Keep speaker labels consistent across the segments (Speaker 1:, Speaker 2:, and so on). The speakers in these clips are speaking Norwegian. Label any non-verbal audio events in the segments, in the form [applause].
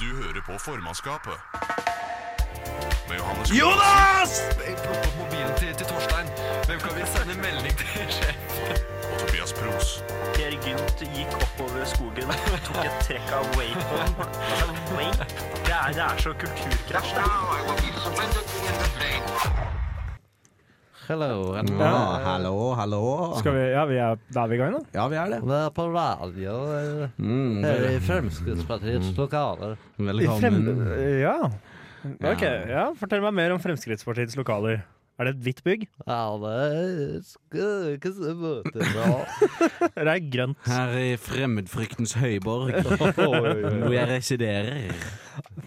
Speaker 1: Du hører på formannskapet. Med Johannes
Speaker 2: Jonas!
Speaker 3: plukke opp mobilen til, til Torstein. Hvem kan vi sende melding til sjef?
Speaker 1: og Tobias Pros.
Speaker 2: Per Gynt gikk oppover skogen, tok et trekk av Wacon. Altså, Wake? Det er, det er så kulturkrasj. Det er.
Speaker 4: Hello and
Speaker 5: Ja, hallo, hallo.
Speaker 6: Skal vi, ja, vi er, da er vi i gang, da.
Speaker 5: Ja, vi er det.
Speaker 4: Vi er på radio eh,
Speaker 5: Mm,
Speaker 4: her i
Speaker 5: vel-
Speaker 7: Mm.
Speaker 4: Fremskrittspartiets lokaler.
Speaker 5: velkommen.
Speaker 6: ja. Ok, ja. Fortell meg mer om Fremskrittspartiets lokaler. Er det et hvitt bygg?
Speaker 4: Alle skal ikke se bort ifra.
Speaker 6: Eller er det grønt?
Speaker 5: Her i fremmedfryktens
Speaker 7: [laughs]
Speaker 5: høyborg, hvor jeg residerer.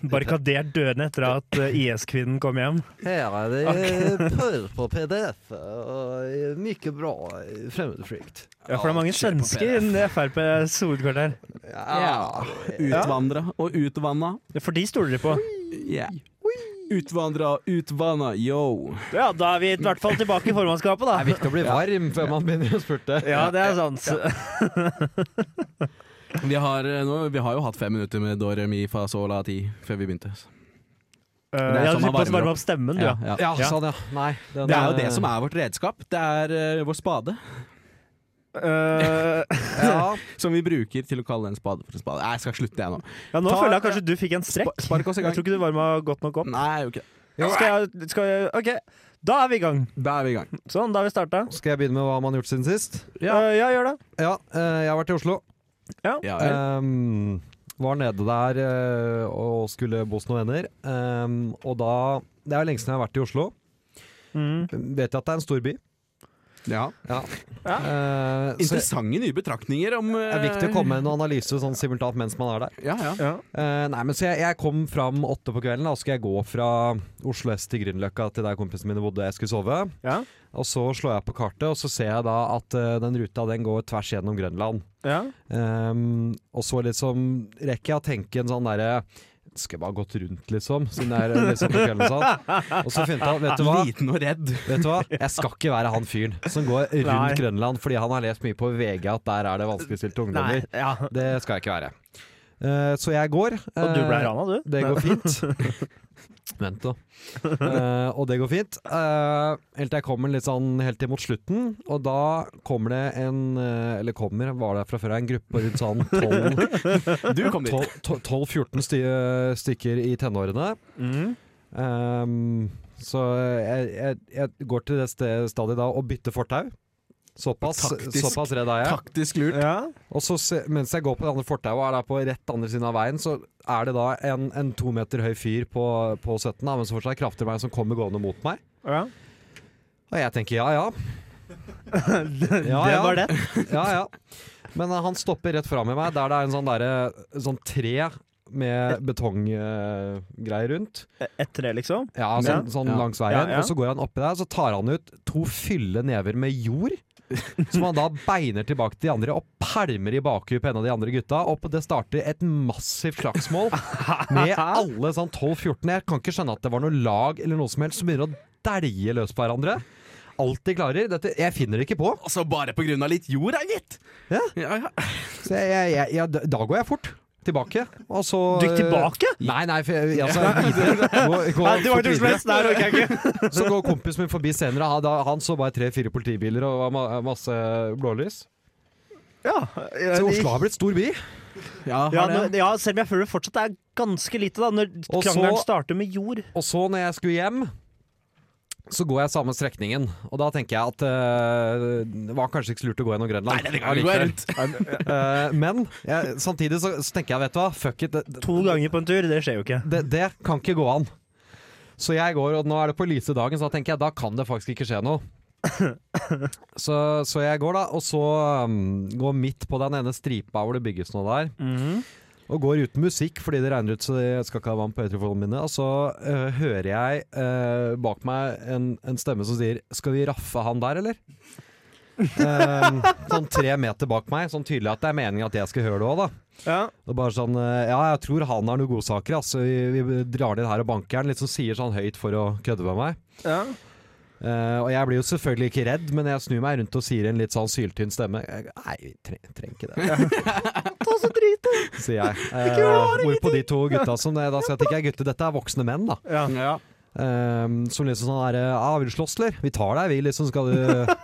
Speaker 6: Barrikadert dørene etter at eh, IS-kvinnen kom hjem?
Speaker 4: Her er
Speaker 7: [laughs]
Speaker 4: det purr på PDF og mye bra fremmedfrykt.
Speaker 6: Ja, for det er mange
Speaker 5: Kjør på,
Speaker 6: svensker innen FrPs hovedkvarter.
Speaker 5: Ja. Utvandra og utvanna.
Speaker 6: For de stoler de på.
Speaker 5: Ja. Utvandra og utvanna, yo.
Speaker 6: Ja, da er vi i hvert fall tilbake i formannskapet, da.
Speaker 3: viktig å bli varm før man begynner å spurte.
Speaker 6: Ja, det er sant.
Speaker 5: Vi har, eh, nå, vi har jo hatt fem minutter med Dore mi fa sol la ti før vi begynte. det
Speaker 6: Eh,
Speaker 5: er
Speaker 6: ja,
Speaker 5: sånn
Speaker 6: du
Speaker 5: man
Speaker 6: fikk oss
Speaker 5: varmer
Speaker 6: varme opp stemmen, du, ja.
Speaker 5: ja.
Speaker 3: Ja,
Speaker 6: Ja.
Speaker 3: sånn, ja. Nei. den,
Speaker 5: Det er jo
Speaker 3: eh,
Speaker 5: det som er vårt redskap. Det er eh, vår spade,
Speaker 6: Eh,
Speaker 4: Ja,
Speaker 5: som vi bruker til å kalle en spade for en spade. Nei, jeg skal slutte, jeg nå.
Speaker 6: ja, nå
Speaker 5: Ta-
Speaker 6: føler jeg kanskje du fikk en strekk.
Speaker 5: Spark oss i
Speaker 6: Jeg
Speaker 5: gang.
Speaker 6: tror ikke du varma godt nok opp.
Speaker 5: Nei, jeg gjør ikke det.
Speaker 6: Skal jeg, skal jeg, ok, da er vi i gang.
Speaker 5: Da er vi i gang.
Speaker 6: Sånn, da har vi starta.
Speaker 7: Skal jeg begynne med hva man har gjort siden sist?
Speaker 6: Ja. ja, gjør det.
Speaker 7: Ja, eh, jeg har vært i Oslo.
Speaker 5: Ja, vel.
Speaker 7: Ehm, var nede der eh, og skulle bo hos noen venner. Ehm, og da Det er jo lenge siden jeg har vært i Oslo.
Speaker 6: Mm.
Speaker 7: Vet jeg at det er en stor by.
Speaker 5: ja.
Speaker 7: Eh, så det
Speaker 5: Interessante nye betraktninger om Det
Speaker 7: er viktig å komme med en analyse sånn simultant mens man er der.
Speaker 5: Ja, ja.
Speaker 6: Ja.
Speaker 7: Eh, nei, men så jeg, jeg kom fram åtte på kvelden, da, og så skulle jeg gå fra Oslo S til Grünerløkka til der kompisene mine bodde jeg skulle sove.
Speaker 6: Ja.
Speaker 7: Og så slår jeg på kartet, og så ser jeg da at eh, den ruta den går tvers gjennom Grønland.
Speaker 6: ja.
Speaker 7: Ehm, og så liksom rekker jeg å tenke en sånn derre Skal jeg bare gått rundt, liksom? Siden det er liksom på kvelden og sånn. Og så finner jeg ut vet du hva?
Speaker 5: Liten og redd.
Speaker 7: Vet du hva? Jeg skal ikke være han fyren som går rundt
Speaker 6: Nei.
Speaker 7: Grønland fordi han har lest mye på VG at der er det
Speaker 6: Nei,
Speaker 7: vanskeligstilte ungdommer.
Speaker 6: ja.
Speaker 7: Det skal jeg ikke være. Eh, så jeg går.
Speaker 6: Og du ble
Speaker 7: eh,
Speaker 6: rana, du?
Speaker 7: det går fint. [laughs] Vent, da. Eh, og det går fint. Eh, helt til jeg kommer litt sånn helt imot slutten, og da kommer det en eh, Eller kommer, var det fra før, en gruppe rundt sånn 12
Speaker 5: Du kom dit.
Speaker 7: 12 12-14 sty stykker i tenårene.
Speaker 6: Mm.
Speaker 7: Ehm, så jeg, jeg, jeg går til det ste- stadiet da og bytter fortau. Såpass,
Speaker 5: Taktisk.
Speaker 7: såpass redd er jeg.
Speaker 5: Taktisk lurt.
Speaker 6: Ja.
Speaker 7: Og så se, mens jeg går på det andre fortauet og er der på rett andre siden av veien, så er det da en, en to meter høy fyr på, på 17, da, men som fortsatt er kraftig meg, som kommer gående mot meg.
Speaker 6: ja.
Speaker 7: Og jeg tenker ja ja.
Speaker 6: [laughs]
Speaker 7: Ja,
Speaker 6: det
Speaker 7: ja.
Speaker 6: var det.
Speaker 7: ja, ja. Men eh, han stopper rett fram i meg, der det er en sånn, derre- sånn tre med betonggreier rundt.
Speaker 6: Ett tre, liksom.
Speaker 7: Ja, sånn,
Speaker 6: Ja.
Speaker 7: sånn
Speaker 5: Ja.
Speaker 7: langs veien.
Speaker 6: Ja, ja.
Speaker 7: Og så går han oppi der, så tar han ut to fylle never med jord. Som han da beiner tilbake til de andre og pælmer i bakhuet på en av de andre gutta. Og på det starter et massivt slagsmål
Speaker 6: [laughs]
Speaker 7: med alle sånn 12-14. Jeg kan ikke skjønne at det var noe lag eller noe som helst som begynner å dælje løs på hverandre. Alt de klarer. Dette, jeg finner det ikke på.
Speaker 5: Altså bare på grunn av litt jord, da, gitt.
Speaker 7: Ja.
Speaker 5: Ja, ja.
Speaker 7: Så jeg, jeg, jeg, jeg, da går jeg fort tilbake. Og så
Speaker 6: Du gikk tilbake?
Speaker 7: Nei, nei, for jeg,
Speaker 6: [laughs]
Speaker 7: altså, videre. Gå, gå
Speaker 6: Nei, det var
Speaker 7: fort
Speaker 6: ikke
Speaker 7: videre.
Speaker 6: slett. Der orker jeg ikke.
Speaker 7: Så går kompisen min forbi senere. Han, da, han så bare tre-fire politibiler og ma- masse blålys.
Speaker 6: Ja,
Speaker 7: Så
Speaker 6: jeg-
Speaker 7: Oslo har blitt stor by.
Speaker 5: ja,
Speaker 6: ja,
Speaker 5: har
Speaker 6: nå,
Speaker 5: det.
Speaker 6: ja, selv om jeg føler det fortsatt er ganske lite, da, når
Speaker 7: Og så-
Speaker 6: krangelen starter med jord.
Speaker 7: Og så når jeg skulle hjem, så går jeg samme strekningen. Og da tenker jeg at eh, det var kanskje ikke så lurt å gå gjennom Grønland.
Speaker 5: Nei, denne gangen går jeg rundt.
Speaker 7: Eh, men jeg, samtidig så, så tenker jeg, vet du hva, fuck it. Det,
Speaker 6: To ganger på en tur, det skjer jo ikke.
Speaker 7: det, det kan ikke gå an. Så jeg går, og nå er det på lyse dagen, så da tenker jeg da kan det faktisk ikke skje noe. Så, så jeg går, da, og så um, går midt på den ene stripa hvor det bygges noe der. Og går uten musikk fordi det regner ut, så jeg skal ikke ha vann på høytelefonene mine. Og så øh, hører jeg øh, bak meg en, en stemme som sier 'Skal vi raffe han der, eller?' Ehm, sånn tre meter bak meg. Sånn tydelig at det er meningen at jeg skal høre det òg, da.
Speaker 6: Ja.
Speaker 7: Og bare sånn eh, Ja, jeg tror han har noen godsaker, altså. Vi, vi drar ned her og banker han. Litt sånn sier sånn høyt for å kødde med meg.
Speaker 6: Ja.
Speaker 7: Eh, og jeg blir jo selvfølgelig ikke redd, men jeg snur meg rundt og sier i en litt sånn syltynn stemme eh, Nei, vi tre- trenger ikke det.
Speaker 6: Ta så drit, da.
Speaker 7: sier jeg. Eh, hvorpå de to gutta som det, da skal jeg ikke er gutter, dette er voksne menn, da.
Speaker 6: Ja.
Speaker 5: Ja.
Speaker 7: Ehm, som liksom sånn her ah, 'Vil du slåss, eller?' 'Vi tar deg, vi, liksom. Skal du [laughs]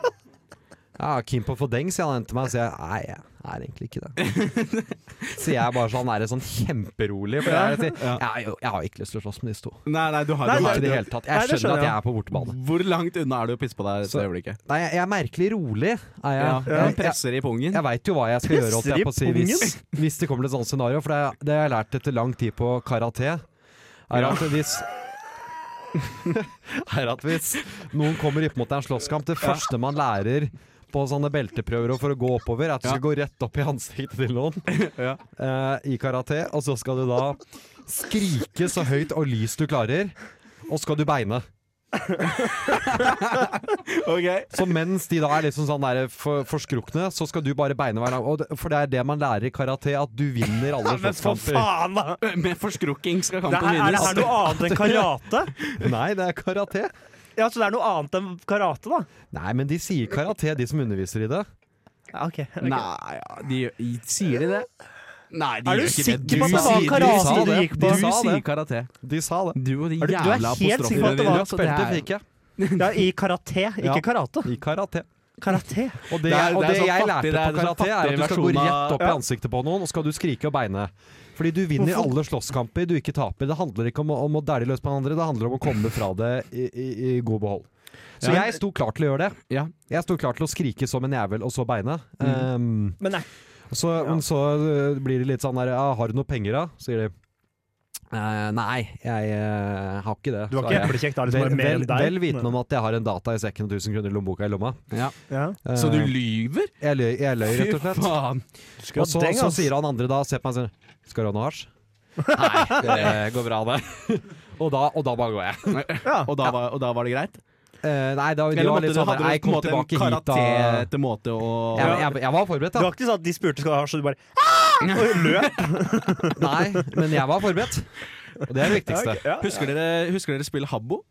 Speaker 7: Ja, keen på å få deng', sier han til meg. Og sier jeg, nei, jeg er egentlig ikke det.
Speaker 6: [laughs]
Speaker 7: Så jeg er bare sånn, er det sånn kjemperolig. For jeg, er- jeg,
Speaker 5: Ja.
Speaker 7: har jo- jeg har ikke lyst til å slåss med disse to.
Speaker 5: Nei, nei, du har
Speaker 6: Nei,
Speaker 5: du
Speaker 7: Ikke
Speaker 5: har-
Speaker 7: i det hele tatt.
Speaker 6: Nei,
Speaker 7: Jeg
Speaker 6: det
Speaker 7: skjønner
Speaker 6: skjønner
Speaker 7: at jeg
Speaker 6: jeg.
Speaker 7: er på bortebane.
Speaker 5: Hvor langt unna er du å pisse på deg i
Speaker 7: Så-
Speaker 5: dette øyeblikket?
Speaker 7: Nei, jeg jeg er merkelig rolig. Er jeg,
Speaker 5: Ja,
Speaker 7: jeg,
Speaker 5: Han presser i pungen.
Speaker 7: Jeg veit jo hva jeg skal gjøre, holdt jeg på å si,
Speaker 6: Presser i
Speaker 7: hvis, hvis det kommer til et sånt scenario. For det, det har jeg lært etter lang tid på karate, er at hvis
Speaker 5: [laughs]
Speaker 7: Er at hvis noen kommer opp mot en slåsskamp, det første man lærer på sånne belteprøver og for å gå oppover, er at du skal gå rett opp i ansiktet til noen
Speaker 5: [laughs] Ja.
Speaker 7: eh, i karate. Og så skal du da skrike så høyt og lyst du klarer, og så skal du beine.
Speaker 5: Ok.
Speaker 7: Så mens de da er liksom sånn der for, forskrukne, så skal du bare beine hver gang. Og det, for det er det man lærer i karate, at du vinner alle
Speaker 6: Men for
Speaker 7: slåsskamper.
Speaker 6: faen, da!
Speaker 5: [laughs] Med forskrukking skal
Speaker 6: Det
Speaker 5: kampen
Speaker 6: her, er det her
Speaker 5: vinnes.
Speaker 6: noe annet enn karate?
Speaker 7: Nei, det er karate.
Speaker 6: Ja, Så det er noe annet enn karate, da?
Speaker 7: Nei, men de sier karate, de som underviser i det.
Speaker 6: Ja, ok.
Speaker 5: Nei, ja, de, gjør- sier de det? Nei, de
Speaker 6: Er du
Speaker 5: gjør ikke det.
Speaker 6: sikker på at det var
Speaker 5: sier-
Speaker 6: karate
Speaker 5: sa
Speaker 6: du
Speaker 5: det.
Speaker 6: gikk på?
Speaker 5: Du
Speaker 7: Sa
Speaker 5: sier
Speaker 7: det.
Speaker 5: karate.
Speaker 7: De sa det.
Speaker 5: Du og de
Speaker 6: Er du- du er
Speaker 5: jævla
Speaker 6: helt sikker på at det var-
Speaker 5: apostrofer.
Speaker 7: Rødt belte
Speaker 5: er-
Speaker 7: fikk jeg.
Speaker 6: [laughs] Ja, I karate, ikke
Speaker 7: Ja.
Speaker 6: karate.
Speaker 7: I karate.
Speaker 6: Karate.
Speaker 7: Og det,
Speaker 5: Det er- det
Speaker 7: og
Speaker 5: er
Speaker 7: det
Speaker 5: så
Speaker 7: jeg
Speaker 5: fattig,
Speaker 7: lærte
Speaker 5: det er-
Speaker 7: på
Speaker 5: det er så
Speaker 7: karate,
Speaker 5: fattig
Speaker 7: er at du skal gå
Speaker 5: versjon av-
Speaker 7: rett opp i ansiktet på noen, og skal du skrike og beine. Fordi du vinner
Speaker 6: Hvorfor?
Speaker 7: alle slåsskamper du ikke taper. Det handler ikke om, å- om å dælje løs på hverandre, det handler om å komme fra det i, i, i god behold. Så
Speaker 5: Ja.
Speaker 7: jeg sto klar til å gjøre det.
Speaker 5: Ja. Mm.
Speaker 7: Jeg sto klar til å skrike som en jævel, og så beine. Um,
Speaker 6: Men nei,
Speaker 7: så, Men så uh, blir det litt sånn der ja, 'Har du noe penger, da?' sier de. «Eh, nei, jeg eh, har ikke det.
Speaker 6: du var
Speaker 7: svarer
Speaker 6: ikke
Speaker 7: jeg.
Speaker 6: eplekjekk da? Liksom,
Speaker 7: Vel,
Speaker 6: bare mer
Speaker 7: vel,
Speaker 6: enn deg.
Speaker 7: vel vitende om at jeg har en data i sekken og 1000 kroner i lommeboka i lomma.
Speaker 6: ja.
Speaker 7: Eh,
Speaker 5: Så du lyver?
Speaker 7: jeg løy, jeg løy rett og slett.
Speaker 5: faen.
Speaker 7: Og så,
Speaker 6: deng,
Speaker 7: så
Speaker 6: ass.
Speaker 7: sier han andre da, ser på meg og sier 'Skal du ha noe hasj?' Nei, det går bra, det. og, da, og da bare går jeg.
Speaker 5: Og da, var, og da var det greit?
Speaker 7: Eh, nei, da, de
Speaker 5: Eller
Speaker 7: var
Speaker 5: måtte
Speaker 7: litt
Speaker 5: du
Speaker 7: sånn
Speaker 5: hadde du på
Speaker 7: Nei,
Speaker 5: en
Speaker 7: kom
Speaker 5: måte en
Speaker 7: tilbake hit, da. Jeg,
Speaker 5: karatete måte å
Speaker 7: jeg, jeg var forberedt,
Speaker 6: Det
Speaker 7: da.
Speaker 6: var ikke sånn at de spurte skal du ha, så du bare «Ah!» [laughs] og løp.
Speaker 7: [laughs] Nei, men jeg var forberedt. Og det er det viktigste.
Speaker 6: Ja,
Speaker 5: Husker dere, husker dere spillet Habbo?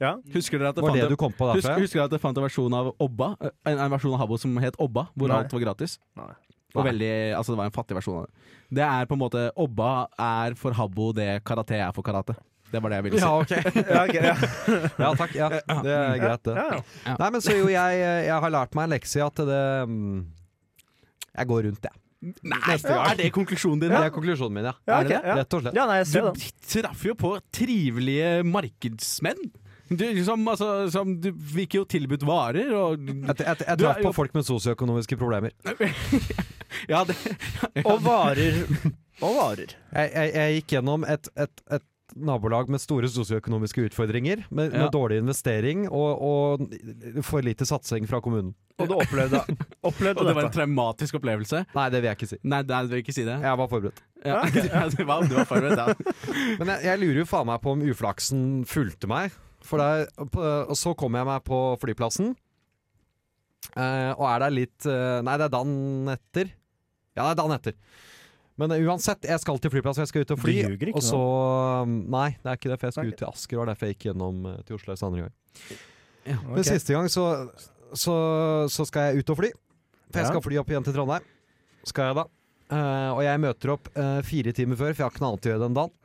Speaker 6: ja.
Speaker 5: Husker dere at det
Speaker 7: Var
Speaker 5: fant
Speaker 7: det
Speaker 5: en-
Speaker 7: du kom på
Speaker 5: Husker,
Speaker 7: derfra?
Speaker 5: husker dere at jeg fant en versjon av Obba En, en versjon av Habbo som het Obba, hvor
Speaker 6: Nei.
Speaker 5: alt var gratis?
Speaker 6: Nei.
Speaker 5: Og
Speaker 7: Nei.
Speaker 5: veldig, altså Det var en fattig versjon av det. Det er på en måte Obba er for Habbo det karate er for karate. Det var det jeg ville si.
Speaker 7: Ja, ok.
Speaker 6: Ja, [laughs] ok, ja.
Speaker 7: Ja, takk. Ja, det er greit, det.
Speaker 6: Ja, ja.
Speaker 7: Nei, men så jo, jeg, jeg har lært meg en lekse i at det mm, Jeg går rundt, jeg.
Speaker 5: Nei,
Speaker 7: Neste gang.
Speaker 5: Er det konklusjonen din?
Speaker 7: Det
Speaker 5: da?
Speaker 7: er konklusjonen min, ja.
Speaker 6: Ja,
Speaker 7: Er det
Speaker 6: ok,
Speaker 7: det?
Speaker 6: ja.
Speaker 7: Rett og slett.
Speaker 6: ja, nei, jeg ser den.
Speaker 5: Du traff jo på trivelige markedsmenn. Du, som, altså, som, du fikk jo tilbudt varer, og
Speaker 7: Jeg, jeg, jeg
Speaker 5: Du er
Speaker 7: traff
Speaker 5: jo-
Speaker 7: på folk med sosioøkonomiske problemer.
Speaker 5: Ja, det,
Speaker 6: [laughs] Og varer. Og varer.
Speaker 7: Jeg, jeg, jeg gikk gjennom et, et, et nabolag med store sosioøkonomiske utfordringer, med,
Speaker 5: Ja.
Speaker 7: med dårlig investering og, og for lite satsing fra kommunen.
Speaker 6: [laughs] Og du opplevde, opplevde
Speaker 5: og det var en
Speaker 6: dette.
Speaker 5: traumatisk opplevelse.
Speaker 7: Nei, det vil jeg ikke si.
Speaker 5: Nei, nei, du vil ikke si det?
Speaker 7: Jeg var forberedt.
Speaker 5: [laughs] Ja. du var, du var forberedt, ja.
Speaker 7: Men jeg, jeg lurer jo faen meg på om uflaksen fulgte meg. For det er- på, og så kom jeg meg på flyplassen, eh, og er der litt eh, Nei, det er dagen etter. Ja, det er dagen etter. Men eh, uansett, jeg skal til flyplassen, jeg skal ut og fly.
Speaker 6: Du ljuger ikke
Speaker 7: og
Speaker 6: nå.
Speaker 7: så eh, Nei, det er ikke det, for jeg skal
Speaker 6: Nei.
Speaker 7: ut til Asker, og det er derfor jeg gikk gjennom eh, til Oslo en andre gang.
Speaker 6: Ok.
Speaker 7: Men siste gang så, så, så skal jeg ut og fly. For jeg
Speaker 6: Ja.
Speaker 7: skal fly opp igjen til Trondheim. Skal jeg da. Eh, og jeg møter opp eh, fire timer før, for jeg har ikke noe annet å gjøre den dagen.